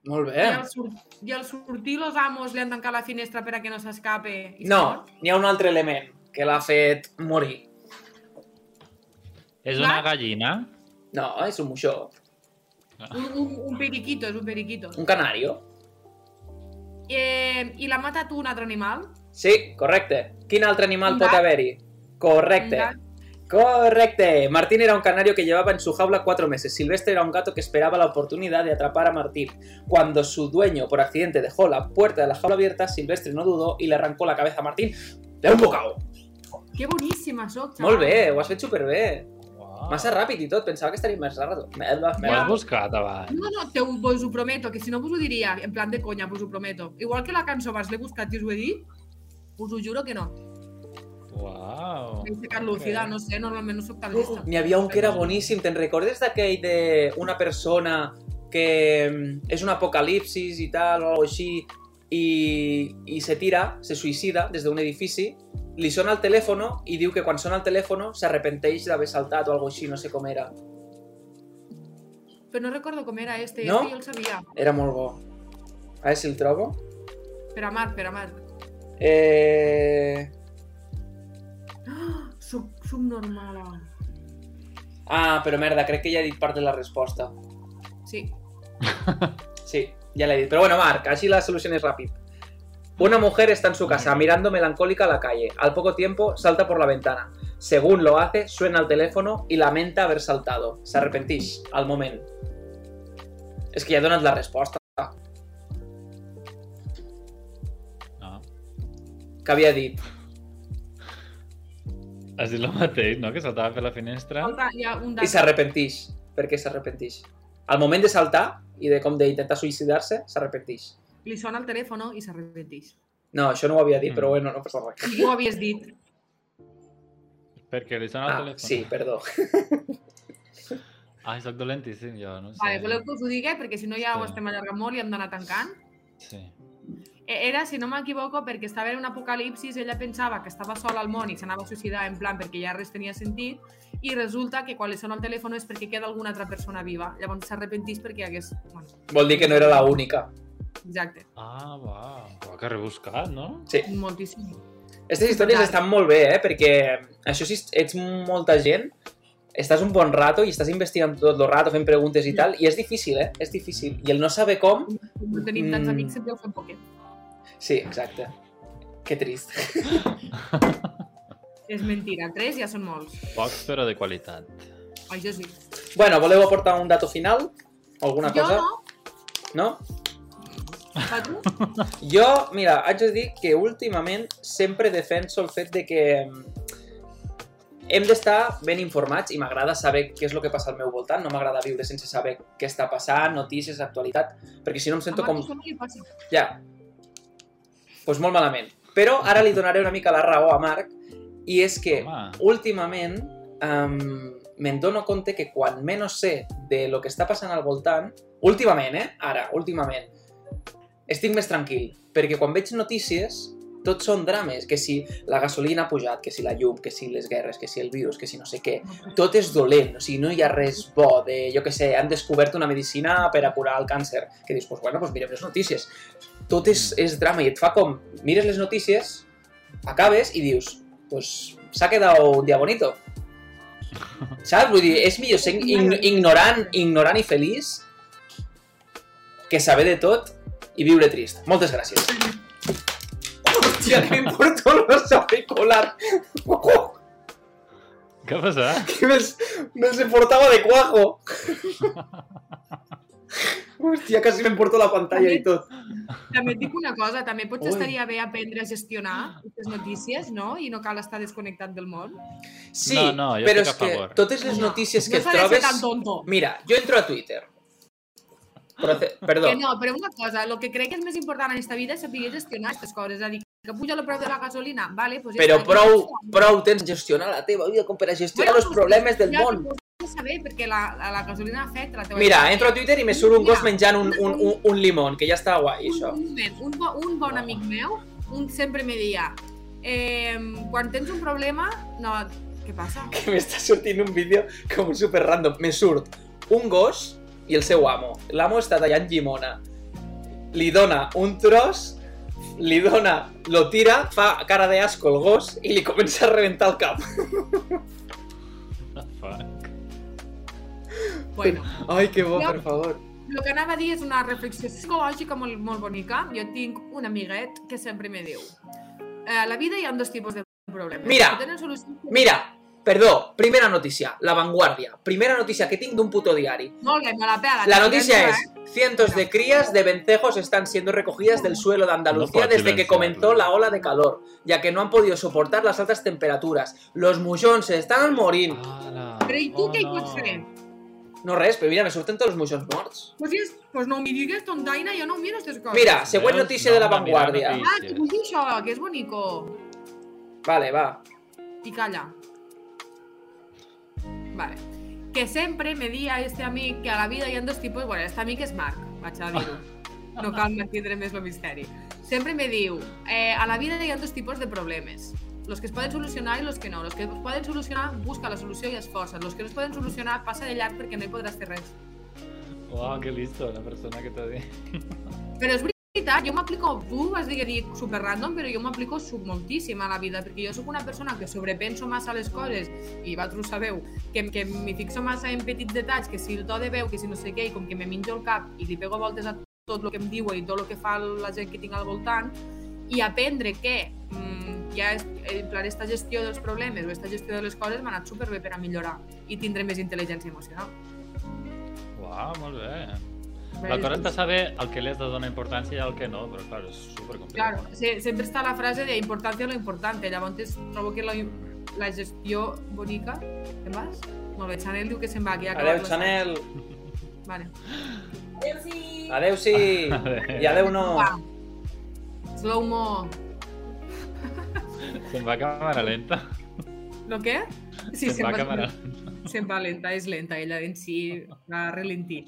[SPEAKER 2] Molt
[SPEAKER 1] i,
[SPEAKER 2] bé.
[SPEAKER 1] al sur i al sortir los amos li han tancat la finestra per a que no s'escape i s'ha
[SPEAKER 2] No,
[SPEAKER 1] mort?
[SPEAKER 2] n'hi ha un altre element que l'ha fet morir.
[SPEAKER 3] És una
[SPEAKER 1] Black?
[SPEAKER 3] gallina?
[SPEAKER 2] No, és un moixó.
[SPEAKER 1] Un, un, un periquito, és un periquito.
[SPEAKER 2] Un canario.
[SPEAKER 1] Eh, I l'ha matat un altre animal?
[SPEAKER 2] Sí, correcte. Quin altre animal
[SPEAKER 1] Un
[SPEAKER 2] pot
[SPEAKER 1] gat?
[SPEAKER 2] haver-hi? Correcte.
[SPEAKER 1] Un gat.
[SPEAKER 2] Correcte. Martín era un canario que llevaba en su jaula cuatro meses. Silvestre era un gato que esperaba la oportunidad de atrapar a Martín. Cuando su dueño por accidente dejó la puerta de la jaula abierta, Silvestre no dudó y le arrancó la cabeza a Martín de un bocado.
[SPEAKER 1] Que boníssima soc, xaval.
[SPEAKER 2] Molt bé, ho has fet superbé.
[SPEAKER 3] Wow.
[SPEAKER 2] Massa ràpid i tot, pensava que estaria més ràpid. Merda,
[SPEAKER 3] Ho has
[SPEAKER 2] merda.
[SPEAKER 3] buscat abans?
[SPEAKER 1] No, no, te ho, vos ho prometo, que si no vos ho diria, en plan de conya, vos ho prometo. Igual que la cançó abans l'he buscat i us ho he dit, us ho juro que no.
[SPEAKER 3] Wow.
[SPEAKER 1] Vull ser tan lúcida, no sé, normalment no soc tan
[SPEAKER 2] Oh,
[SPEAKER 1] lista.
[SPEAKER 2] N'hi havia un que era boníssim, te'n recordes d'aquell de una persona que mm, és un apocalipsis i tal, o alguna així, i, i se tira, se suïcida des d'un edifici, li sona el telèfon i diu que quan sona el telèfon s'arrepenteix d'haver saltat o alguna així, no sé com era.
[SPEAKER 1] Però no recordo com era este,
[SPEAKER 2] No?
[SPEAKER 1] este jo el sabia.
[SPEAKER 2] Era molt bo. A veure si el trobo.
[SPEAKER 1] Per amar, per amar.
[SPEAKER 2] Eh...
[SPEAKER 1] Ah, soc subnormala.
[SPEAKER 2] Ah, però merda, crec que ja he dit part de la resposta.
[SPEAKER 1] Sí.
[SPEAKER 2] Sí, ya le he dicho. Pero bueno, Marc, así la solución es rápida. Una mujer está en su casa mirando melancólica a la calle. Al poco tiempo salta por la ventana. Según lo hace, suena el teléfono y lamenta haber saltado. Se arrepentís al momento. Es que ya donas la respuesta.
[SPEAKER 3] No.
[SPEAKER 2] Que había dit.
[SPEAKER 3] Has dit el mateix, no? Que saltava per la finestra?
[SPEAKER 1] Falta ja un
[SPEAKER 2] Ah. I
[SPEAKER 1] dat.
[SPEAKER 2] s'arrepentix. Per què s'arrepentix? Al moment de saltar i de com d'intentar suïcidar-se, s'arrepentix.
[SPEAKER 1] Li sona el telèfon i s'arrepenteix.
[SPEAKER 2] No, això no ho havia dit,
[SPEAKER 3] Mm.
[SPEAKER 2] però bueno, no passa res.
[SPEAKER 1] I ho havies dit.
[SPEAKER 3] Perquè li sona el
[SPEAKER 2] Ah,
[SPEAKER 3] telèfon.
[SPEAKER 2] sí, perdó.
[SPEAKER 3] Ai, soc dolentíssim, jo, no sé.
[SPEAKER 1] Vale, voleu que us ho digui? Perquè si no ja ho
[SPEAKER 3] Sí.
[SPEAKER 1] estem allargant molt i hem d'anar tancant.
[SPEAKER 3] Sí.
[SPEAKER 1] Eh, Era, si no m'equivoco, perquè estava en un apocalipsis, ella pensava que estava sola al món i s'anava a suïcidar, en plan, perquè ja res tenia sentit, i resulta que quan li sona el telèfon és perquè queda alguna altra persona viva. Llavors s'arrepentís perquè hagués... Bueno,
[SPEAKER 2] Vol dir que no era la única.
[SPEAKER 1] exacte,
[SPEAKER 3] Ah, va. Però que rebuscat, no?
[SPEAKER 2] Sí.
[SPEAKER 1] moltíssim.
[SPEAKER 2] Aquestes històries
[SPEAKER 1] Clar.
[SPEAKER 2] estan molt bé, eh? Perquè això si ets molta gent, estàs un bon rato i estàs investigant tot el rato, fent preguntes i tal, i és difícil, eh? És difícil. I el no saber com...
[SPEAKER 1] No tenim tants
[SPEAKER 2] Mm.
[SPEAKER 1] amics, sempre ho fem poquet.
[SPEAKER 2] Sí, exacte. Que trist.
[SPEAKER 1] És mentira, tres ja són molts.
[SPEAKER 3] Pocs, però de qualitat.
[SPEAKER 1] Això sí.
[SPEAKER 2] Bueno, voleu aportar un dato final? Alguna
[SPEAKER 1] jo
[SPEAKER 2] cosa?
[SPEAKER 1] no,
[SPEAKER 2] No?
[SPEAKER 1] fa tu?
[SPEAKER 2] Jo, mira, haig de dir que últimament sempre defenso el fet de que mm, hem d'estar ben informats i m'agrada saber què és el que passa al meu voltant, no m'agrada viure sense saber què està passant, notícies, actualitat, perquè si no em sento
[SPEAKER 1] Amb
[SPEAKER 2] com...
[SPEAKER 1] això no li passa.
[SPEAKER 2] Ja. Doncs pues molt malament. Però ara li donaré una mica la raó a Marc, i és que
[SPEAKER 3] Home,
[SPEAKER 2] últimament um, me'n dono compte que quan menos sé de lo que està passant al voltant, últimament, eh? Ara, últimament, estic més tranquil, perquè quan veig notícies tot són drames, que si la gasolina ha pujat, que si la llum, que si les guerres, que si el virus, que si no sé què. Tot és dolent, o sigui, no hi ha res bo de, jo que sé, han descobert una medicina per a curar el càncer, que dius, pues bueno, pues mirem les notícies. Tot és, és drama i et fa com, mires les notícies, acabes i dius, pues s'ha quedat un dia bonito. Saps? Vull dir, és millor ser ign ignorant, ignorant i feliç que saber de tot i viure trist. Moltes gràcies. Hòstia, que m'importo los auriculars. Ojo,
[SPEAKER 3] què ha passat?
[SPEAKER 2] Que me'ls me he portado de cuajo. Hòstia, quasi m'emporto la pantalla i tot.
[SPEAKER 1] També et dic una cosa, també potser
[SPEAKER 2] Ui.
[SPEAKER 1] estaria bé aprendre a gestionar aquestes notícies, no? I no cal estar desconnectat del món.
[SPEAKER 2] Sí,
[SPEAKER 3] No, no, jo
[SPEAKER 2] però és
[SPEAKER 3] estic a
[SPEAKER 2] que
[SPEAKER 3] favor.
[SPEAKER 2] totes les notícies
[SPEAKER 1] no
[SPEAKER 2] que et
[SPEAKER 1] s'ha de ser
[SPEAKER 2] trobes...
[SPEAKER 1] tan tonto.
[SPEAKER 2] Mira, jo entro a Twitter. Proce- Perdó.
[SPEAKER 1] Que no, però una cosa, el que crec que és més important en aquesta vida és saber gestionar aquestes coses. És a dir, que puja el preu de la gasolina, vale, pues ja
[SPEAKER 2] Però
[SPEAKER 1] està,
[SPEAKER 2] prou,
[SPEAKER 1] ja està.
[SPEAKER 2] prou tens gestionar la teva vida com per a gestionar
[SPEAKER 1] Bueno,
[SPEAKER 2] els problemes del
[SPEAKER 1] ja,
[SPEAKER 2] món.
[SPEAKER 1] però ho has de saber, perquè la, la, la gasolina afecta la teva
[SPEAKER 2] Mira,
[SPEAKER 1] vida.
[SPEAKER 2] entro a Twitter i me surt un gos
[SPEAKER 1] eh. Mira,
[SPEAKER 2] menjant un, un, un, un limón, que ja està guai,
[SPEAKER 1] un,
[SPEAKER 2] això.
[SPEAKER 1] un moment, un, bo, un bon amic meu un sempre me deia eh, quan tens un problema no, què passa?
[SPEAKER 2] Que m'està sortint un vídeo com super random. Me surt un gos i el seu amo. L'amo està tallant llimona. Li dona un tros, li dona, lo tira, fa cara de asco el gos i li comença a reventar el cap.
[SPEAKER 3] Fuck.
[SPEAKER 1] Bueno,
[SPEAKER 2] Ai, que bo,
[SPEAKER 1] Ja.
[SPEAKER 2] per favor.
[SPEAKER 1] el que anava a dir és una reflexió psicològica molt, molt bonica. Jo tinc un amiguet que sempre me diu eh, a la vida hi ha dos tipus de problemes.
[SPEAKER 2] Mira,
[SPEAKER 1] que tenen solució...
[SPEAKER 2] Mira, perdó, primera notícia, La Vanguardia. Primera notícia que tinc d'un puto diari.
[SPEAKER 1] Molt bé, me la pela.
[SPEAKER 2] La
[SPEAKER 1] t'ho
[SPEAKER 2] noticia
[SPEAKER 1] llenço,
[SPEAKER 2] es, cientos de crías de vencejos están siendo recogidas del suelo de Andalucía
[SPEAKER 3] No puedo
[SPEAKER 2] desde que
[SPEAKER 3] silenciarlo.
[SPEAKER 2] comenzó la ola de calor, ya que no han podido soportar las altas temperaturas. Los mullons se están al morir.
[SPEAKER 3] Ah. Ala,
[SPEAKER 1] Però i eh? tu
[SPEAKER 3] oh,
[SPEAKER 1] què hi
[SPEAKER 3] no.
[SPEAKER 1] pots fer?
[SPEAKER 2] No res, pero mira, me surten todos los mullons morts.
[SPEAKER 1] Pues, és, pues no m'hi digues tontaina, jo no miro aquestes coses.
[SPEAKER 2] Mira, següent
[SPEAKER 3] Veus?
[SPEAKER 2] notícia
[SPEAKER 3] No,
[SPEAKER 2] de la
[SPEAKER 3] una mirada
[SPEAKER 2] vanguardia.
[SPEAKER 3] i-
[SPEAKER 1] Ah, que vull dir això, que és bonico.
[SPEAKER 2] Vale, va.
[SPEAKER 1] y calla. Vale. Que siempre me di a este amigo que a la vida hi ha dos tipus... Bueno, este amic és Marc, vaig a dir-ho. No cal mantindre més el misteri. Sempre me diu, eh, a la vida hi ha dos tipus de problemes. Los que es poden solucionar i los que no. Los que es poden solucionar, busca la solució i esforça't. Los que no es poden solucionar, passa de llarg perquè no hi podràs fer res.
[SPEAKER 3] Uau, que listo, la persona que t'ha dit.
[SPEAKER 1] Però és veritat, jo m'aplico, tu vas dir que dic super random, però jo m'aplico sub moltíssim a la vida, perquè jo sóc una persona que sobrepenso massa les coses, i vosaltres ho sabeu, que, que m'hi fixo massa en petits detalls, que si el to de veu, que si no sé què, i com que me minjo el cap i li pego voltes a tot el que em diu i tot el que fa la gent que tinc al voltant, i aprendre que mm, ja és, en plan, esta gestió dels problemes o esta gestió de les coses m'ha anat superbé per a millorar i tindré més intel·ligència emocional.
[SPEAKER 3] Uau, molt bé. La
[SPEAKER 1] doncs
[SPEAKER 3] cosa està saber el que li has de donar importància i el que no, però clar, és supercomplicat.
[SPEAKER 1] Claro, se- sempre està la frase de importancia lo importante. Llavors trobo que la, la gestió bonica... Te'n vas? Molt bé, Chanel diu que se'n va, que ja ha acabat
[SPEAKER 2] Adeu,
[SPEAKER 1] la-
[SPEAKER 2] Chanel.
[SPEAKER 1] Vale.
[SPEAKER 2] Adeu, sí.
[SPEAKER 3] Adeu.
[SPEAKER 2] I adeu, no.
[SPEAKER 1] Va. Slow-mo.
[SPEAKER 3] Se'n va a càmera lenta.
[SPEAKER 1] Lo què?
[SPEAKER 3] Sí, Se'n va a càmera.
[SPEAKER 1] Se'n va lenta, és lenta, ella en si va ralentí.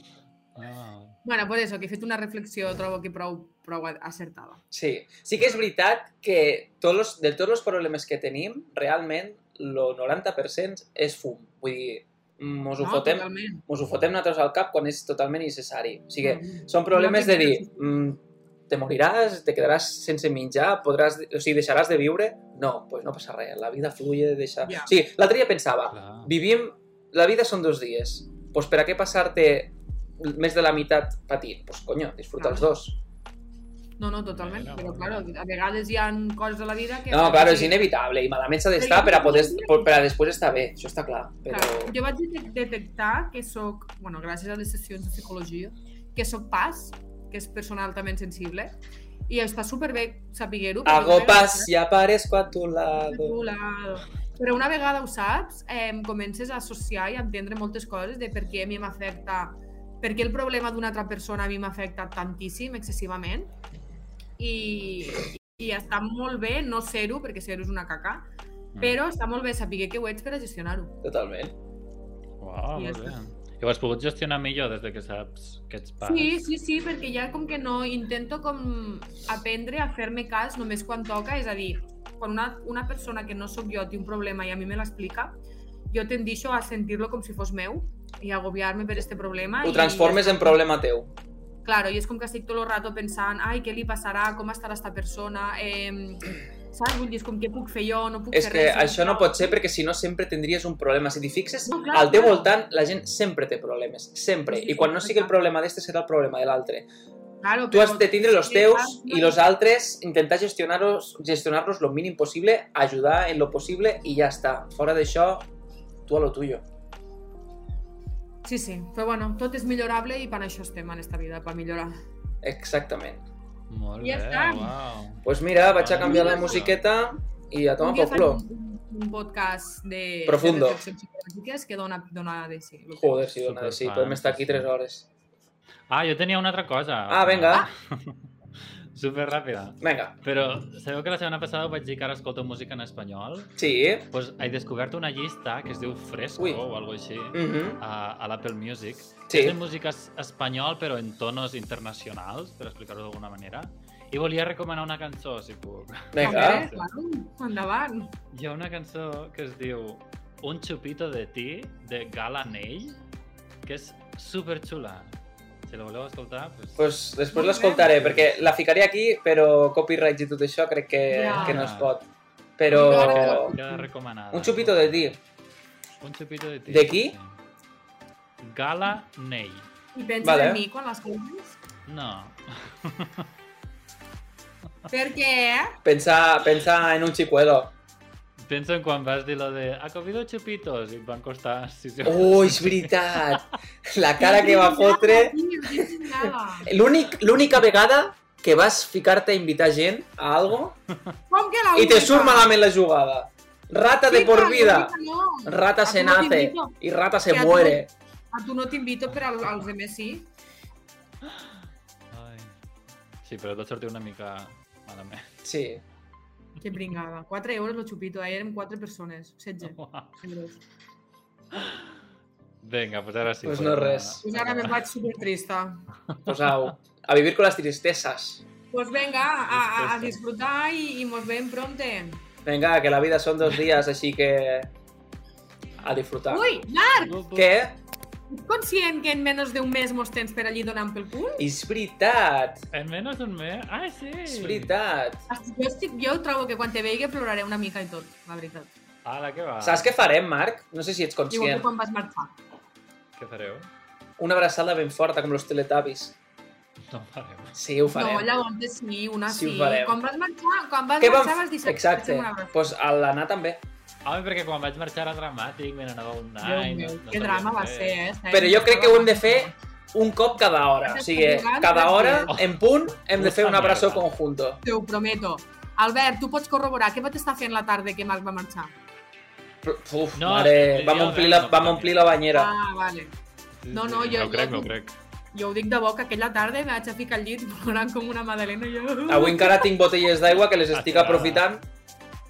[SPEAKER 3] Ah.
[SPEAKER 1] Bueno, por eso, que he fet una reflexió, trobo que prou, prou acertada.
[SPEAKER 2] Sí. Sí que és veritat que tots los, de tots els problemes que tenim, realment, el 90% és fum. Vull dir, mos ho fotem,
[SPEAKER 1] totalment.
[SPEAKER 2] mos ho fotem nosaltres al cap quan és totalment innecessari. O sigui,
[SPEAKER 1] Mm.
[SPEAKER 2] són problemes
[SPEAKER 1] No
[SPEAKER 2] de
[SPEAKER 1] té
[SPEAKER 2] dir,
[SPEAKER 1] sentit.
[SPEAKER 2] mm, te moriràs, te quedaràs sense menjar, podràs, o sigui, deixaràs de viure... No, doncs pues no passa res, la vida fluye, deixa...
[SPEAKER 1] Ja.
[SPEAKER 2] O sigui, l'altre dia pensava,
[SPEAKER 3] Clar.
[SPEAKER 2] vivim... La vida són dos dies, doncs pues per a què passar-te més de la meitat patint? Doncs pues coño, disfruta
[SPEAKER 1] Clar.
[SPEAKER 2] els dos.
[SPEAKER 1] No, no, totalment,
[SPEAKER 3] Bueno,
[SPEAKER 1] però
[SPEAKER 3] bueno.
[SPEAKER 1] claro, a vegades hi ha coses de la vida que...
[SPEAKER 2] No, claro, és inevitable i malament s'ha d'estar per a poder, per a després estar bé, això està clar, però...
[SPEAKER 1] Clar, jo vaig detec- detectar que sóc, bueno, gràcies a les sessions de psicologia, que sóc pas, que és persona altament sensible, i està superbé saber-ho. perquè
[SPEAKER 2] Hago
[SPEAKER 1] jo crec
[SPEAKER 2] paz
[SPEAKER 1] que-
[SPEAKER 2] y aparezco a tu
[SPEAKER 1] a tu
[SPEAKER 2] lado.
[SPEAKER 1] lado. Però una vegada ho saps, eh, comences a associar i a entendre moltes coses de per què a mi m'afecta, per què el problema d'una altra persona a mi m'afecta tantíssim, excessivament. I, i està molt bé no ser-ho, perquè ser-ho és una caca,
[SPEAKER 3] Mm.
[SPEAKER 1] però està molt bé saber que ho ets per a gestionar-ho.
[SPEAKER 2] Totalment.
[SPEAKER 3] Uau,
[SPEAKER 1] Ja
[SPEAKER 3] molt bé.
[SPEAKER 1] està.
[SPEAKER 3] I ho has pogut gestionar millor des de que saps que ets pare.
[SPEAKER 1] Sí, sí, sí, perquè ja com que no intento com aprendre a fer-me cas només quan toca, és a dir, quan una, una persona que no sóc jo té un problema i a mi me l'explica, jo tendixo a sentir-lo com si fos meu i a agobiar-me per este problema.
[SPEAKER 2] Ho
[SPEAKER 1] i-
[SPEAKER 2] transformes en problema teu.
[SPEAKER 1] Claro, i és com que estic tot el rato pensant, ai, què li passarà, com estarà esta persona, eh, saps? Vull dir, és com què puc fer jo, no puc
[SPEAKER 2] És
[SPEAKER 1] fer
[SPEAKER 2] que
[SPEAKER 1] res. eh?
[SPEAKER 2] això no pot ser perquè si no sempre tindries un problema. Si t'hi fixes,
[SPEAKER 1] No, clar,
[SPEAKER 2] al teu
[SPEAKER 1] clar.
[SPEAKER 2] voltant la gent sempre té problemes, sempre.
[SPEAKER 1] Sí, sí,
[SPEAKER 2] I quan no
[SPEAKER 1] sí,
[SPEAKER 2] sigui el
[SPEAKER 1] clar.
[SPEAKER 2] problema d'este serà el problema de l'altre.
[SPEAKER 1] Claro,
[SPEAKER 2] Tu
[SPEAKER 1] però-
[SPEAKER 2] has de tindre los
[SPEAKER 1] Sí,
[SPEAKER 2] teus
[SPEAKER 1] clar,
[SPEAKER 2] i los altres, intentar gestionar-los gestionar lo mínim possible, ajudar en lo possible i ja està. Fora d'això, tu a lo tuyo.
[SPEAKER 1] Sí, sí, però bueno, tot és millorable i per això estem en esta vida, per millorar.
[SPEAKER 2] Exactament.
[SPEAKER 3] Molt
[SPEAKER 1] Ja
[SPEAKER 3] bé,
[SPEAKER 1] està.
[SPEAKER 3] uau.
[SPEAKER 2] Doncs pues mira, vaig a
[SPEAKER 3] Mare
[SPEAKER 2] canviar la
[SPEAKER 3] meva.
[SPEAKER 2] musiqueta i a
[SPEAKER 1] Un
[SPEAKER 2] tomar
[SPEAKER 1] dia
[SPEAKER 2] pel
[SPEAKER 1] faré
[SPEAKER 2] culo.
[SPEAKER 1] un, un- un podcast de...
[SPEAKER 2] Profundo.
[SPEAKER 1] De reflexions psicològiques que dona, dona de si.
[SPEAKER 2] Joder, si dona, de sí,
[SPEAKER 3] Superfan,
[SPEAKER 2] podem estar aquí
[SPEAKER 3] sí, sí.
[SPEAKER 2] 3 hores.
[SPEAKER 3] Ah, jo tenia una altra cosa.
[SPEAKER 2] Ah, vinga,
[SPEAKER 3] Super ràpida.
[SPEAKER 2] vinga.
[SPEAKER 3] Però sabeu que la setmana passada vaig dir que ara escolto música en espanyol?
[SPEAKER 2] Sí.
[SPEAKER 3] Doncs pues, he descobert una llista que es diu Fresco
[SPEAKER 2] Ui.
[SPEAKER 3] o alguna així
[SPEAKER 2] Mhm.
[SPEAKER 3] a, a l'Apple Music.
[SPEAKER 2] Sí.
[SPEAKER 3] És de música es- espanyol però en tonos internacionals, per explicar-ho d'alguna manera. I volia recomanar una cançó, si puc.
[SPEAKER 1] També,
[SPEAKER 2] Vinga.
[SPEAKER 1] claro, endavant.
[SPEAKER 3] Hi ha una cançó que es diu Un chupito de ti, de Gala Ney, que és superxula. Si la voleu escoltar, doncs... Pues...
[SPEAKER 2] Pues després
[SPEAKER 1] Molt bé.
[SPEAKER 2] l'escoltaré, perquè la ficaré aquí, però copyright i tot això crec que,
[SPEAKER 1] Ja.
[SPEAKER 2] que no es pot.
[SPEAKER 1] Però-
[SPEAKER 2] Però...
[SPEAKER 3] Queda recomanada.
[SPEAKER 2] Un chupito de ti.
[SPEAKER 3] Un chupito de ti.
[SPEAKER 2] De qui?
[SPEAKER 3] sí. Gala Ney.
[SPEAKER 1] I penses
[SPEAKER 2] Vale.
[SPEAKER 1] vale. en mi quan l'escoltes?
[SPEAKER 3] No.
[SPEAKER 1] Perquè...
[SPEAKER 2] Pensa, pensa en un chicuelo.
[SPEAKER 3] Penso en quan vas dir lo de ha comido chupitos i et van costar 6 euros.
[SPEAKER 2] Oh, és veritat! La cara que va fotre...
[SPEAKER 1] fotre...
[SPEAKER 2] L'únic- L'única vegada que vas ficar-te a invitar gent a algo
[SPEAKER 1] Com que la
[SPEAKER 2] i te surt malament la jugada. Rata de por vida. Rata se nace i rata se
[SPEAKER 1] Que a tu-
[SPEAKER 2] muere.
[SPEAKER 1] A tu no t'invito, però als, als demés sí.
[SPEAKER 3] Ai. Sí, però tot sortir una mica malament.
[SPEAKER 2] Sí.
[SPEAKER 1] Que pringada. 4 euros lo xupito, ahir érem 4 persones, 16 euros.
[SPEAKER 3] Vinga, pues ara sí.
[SPEAKER 2] Pues
[SPEAKER 3] podem
[SPEAKER 2] no
[SPEAKER 3] anar.
[SPEAKER 2] res.
[SPEAKER 1] Pues ara me'n vaig supertrista.
[SPEAKER 2] Posau. A vivir con las tristezas.
[SPEAKER 1] Pues venga, a, a, a
[SPEAKER 3] Tristesa.
[SPEAKER 1] disfrutar i, i mos veiem prompte.
[SPEAKER 2] Venga, que la vida son dos días, així que... A disfrutar.
[SPEAKER 1] Ui, Marc,
[SPEAKER 3] Bu, bu.
[SPEAKER 2] Què?
[SPEAKER 1] ets conscient que en menys d'un mes mos tens per allí donant pel cul?
[SPEAKER 2] És veritat!
[SPEAKER 3] En menys d'un mes? Ah, sí!
[SPEAKER 2] És veritat!
[SPEAKER 1] Jo, estic, jo trobo que quan te vegi ploraré una mica i tot, la veritat.
[SPEAKER 3] Ala, què va?
[SPEAKER 2] Saps què farem, Marc? No sé si ets
[SPEAKER 1] Igual que
[SPEAKER 2] conscient.
[SPEAKER 1] quan vas marxar.
[SPEAKER 3] Què fareu?
[SPEAKER 2] Una abraçada ben forta, com los teletubbies.
[SPEAKER 3] No fareu.
[SPEAKER 2] Sí, ho
[SPEAKER 1] No,
[SPEAKER 2] farem.
[SPEAKER 1] llavors sí, una
[SPEAKER 2] Sí,
[SPEAKER 1] sí.
[SPEAKER 2] ho farem.
[SPEAKER 1] Quan vas marxar, quan vas
[SPEAKER 2] Què vam...
[SPEAKER 1] marxar vas dir...
[SPEAKER 2] Exacte. Doncs pues a l'anar també.
[SPEAKER 3] Home, perquè quan vaig marxar era dramàtic, me n'anava un any...
[SPEAKER 1] Déu meu,
[SPEAKER 3] no
[SPEAKER 1] que
[SPEAKER 3] sabia
[SPEAKER 1] drama va
[SPEAKER 3] què.
[SPEAKER 1] ser, eh? Saps?
[SPEAKER 2] Però jo crec que ho hem de fer un cop cada hora. O sigui, cada hora, en punt, hem de fer un abraço conjunto.
[SPEAKER 1] Te ho prometo. Albert, tu pots corroborar què pot estar fent la tarda que Marc va marxar?
[SPEAKER 2] Uf, mare, vam omplir la, vam omplir la banyera.
[SPEAKER 1] Ah, vale.
[SPEAKER 3] Sí,
[SPEAKER 1] No,
[SPEAKER 3] sí,
[SPEAKER 1] no, jo-
[SPEAKER 3] M'ho crec,
[SPEAKER 1] jo-
[SPEAKER 3] m'ho crec.
[SPEAKER 1] Jo ho dic de boca, aquella tarda em vaig a ficar al llit plorant com una madalena i jo...
[SPEAKER 2] Avui encara tinc botelles d'aigua que les estic aprofitant.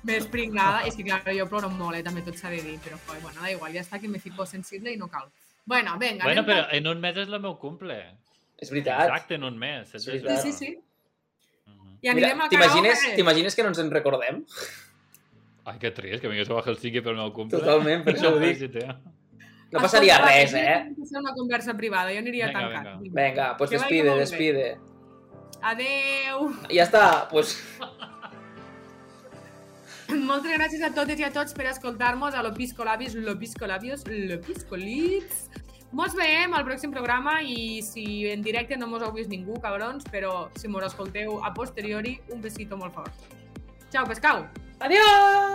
[SPEAKER 1] Més pringada. És que, clar, jo ploro molt, eh? també tot s'ha de dir, però, coi, bueno, da igual, ja està, que me fico sensible i no cal. Bueno, venga,
[SPEAKER 3] Bueno,
[SPEAKER 1] anem
[SPEAKER 3] però
[SPEAKER 1] cap-
[SPEAKER 3] en un mes és el meu cumple.
[SPEAKER 2] És veritat.
[SPEAKER 3] Exacte, en un mes. És
[SPEAKER 2] Sí,
[SPEAKER 3] veritat.
[SPEAKER 1] Sí, sí, sí.
[SPEAKER 3] Mhm.
[SPEAKER 1] I
[SPEAKER 2] Mira,
[SPEAKER 1] anirem a
[SPEAKER 2] t'imagines
[SPEAKER 1] karaoke.
[SPEAKER 2] t'imagines que no ens en recordem?
[SPEAKER 3] Ai, que trist, que vingués a Helsinki pel meu cumple.
[SPEAKER 2] Totalment, per això ho dic.
[SPEAKER 3] Sí, tio.
[SPEAKER 2] No passaria
[SPEAKER 1] Escolta, va,
[SPEAKER 2] res,
[SPEAKER 1] tindríem
[SPEAKER 2] eh?
[SPEAKER 1] que Fer una conversa privada, jo aniria
[SPEAKER 3] Vinga,
[SPEAKER 1] tancat.
[SPEAKER 3] vinga.
[SPEAKER 2] Vinga, doncs pues
[SPEAKER 1] Que vagi
[SPEAKER 2] despide,
[SPEAKER 1] molt bé.
[SPEAKER 2] despide.
[SPEAKER 1] Adeu!
[SPEAKER 2] Ja està, doncs...
[SPEAKER 1] Moltes gràcies a totes i a tots per escoltar-nos a Lopiscolabis, Lopiscolabios, Lopiscolits. Mos veiem al pròxim programa i si en directe no mos heu vist ningú, cabrons, però si mos escolteu a posteriori, un besito molt fort. Ciao, pescau!
[SPEAKER 2] Adiós!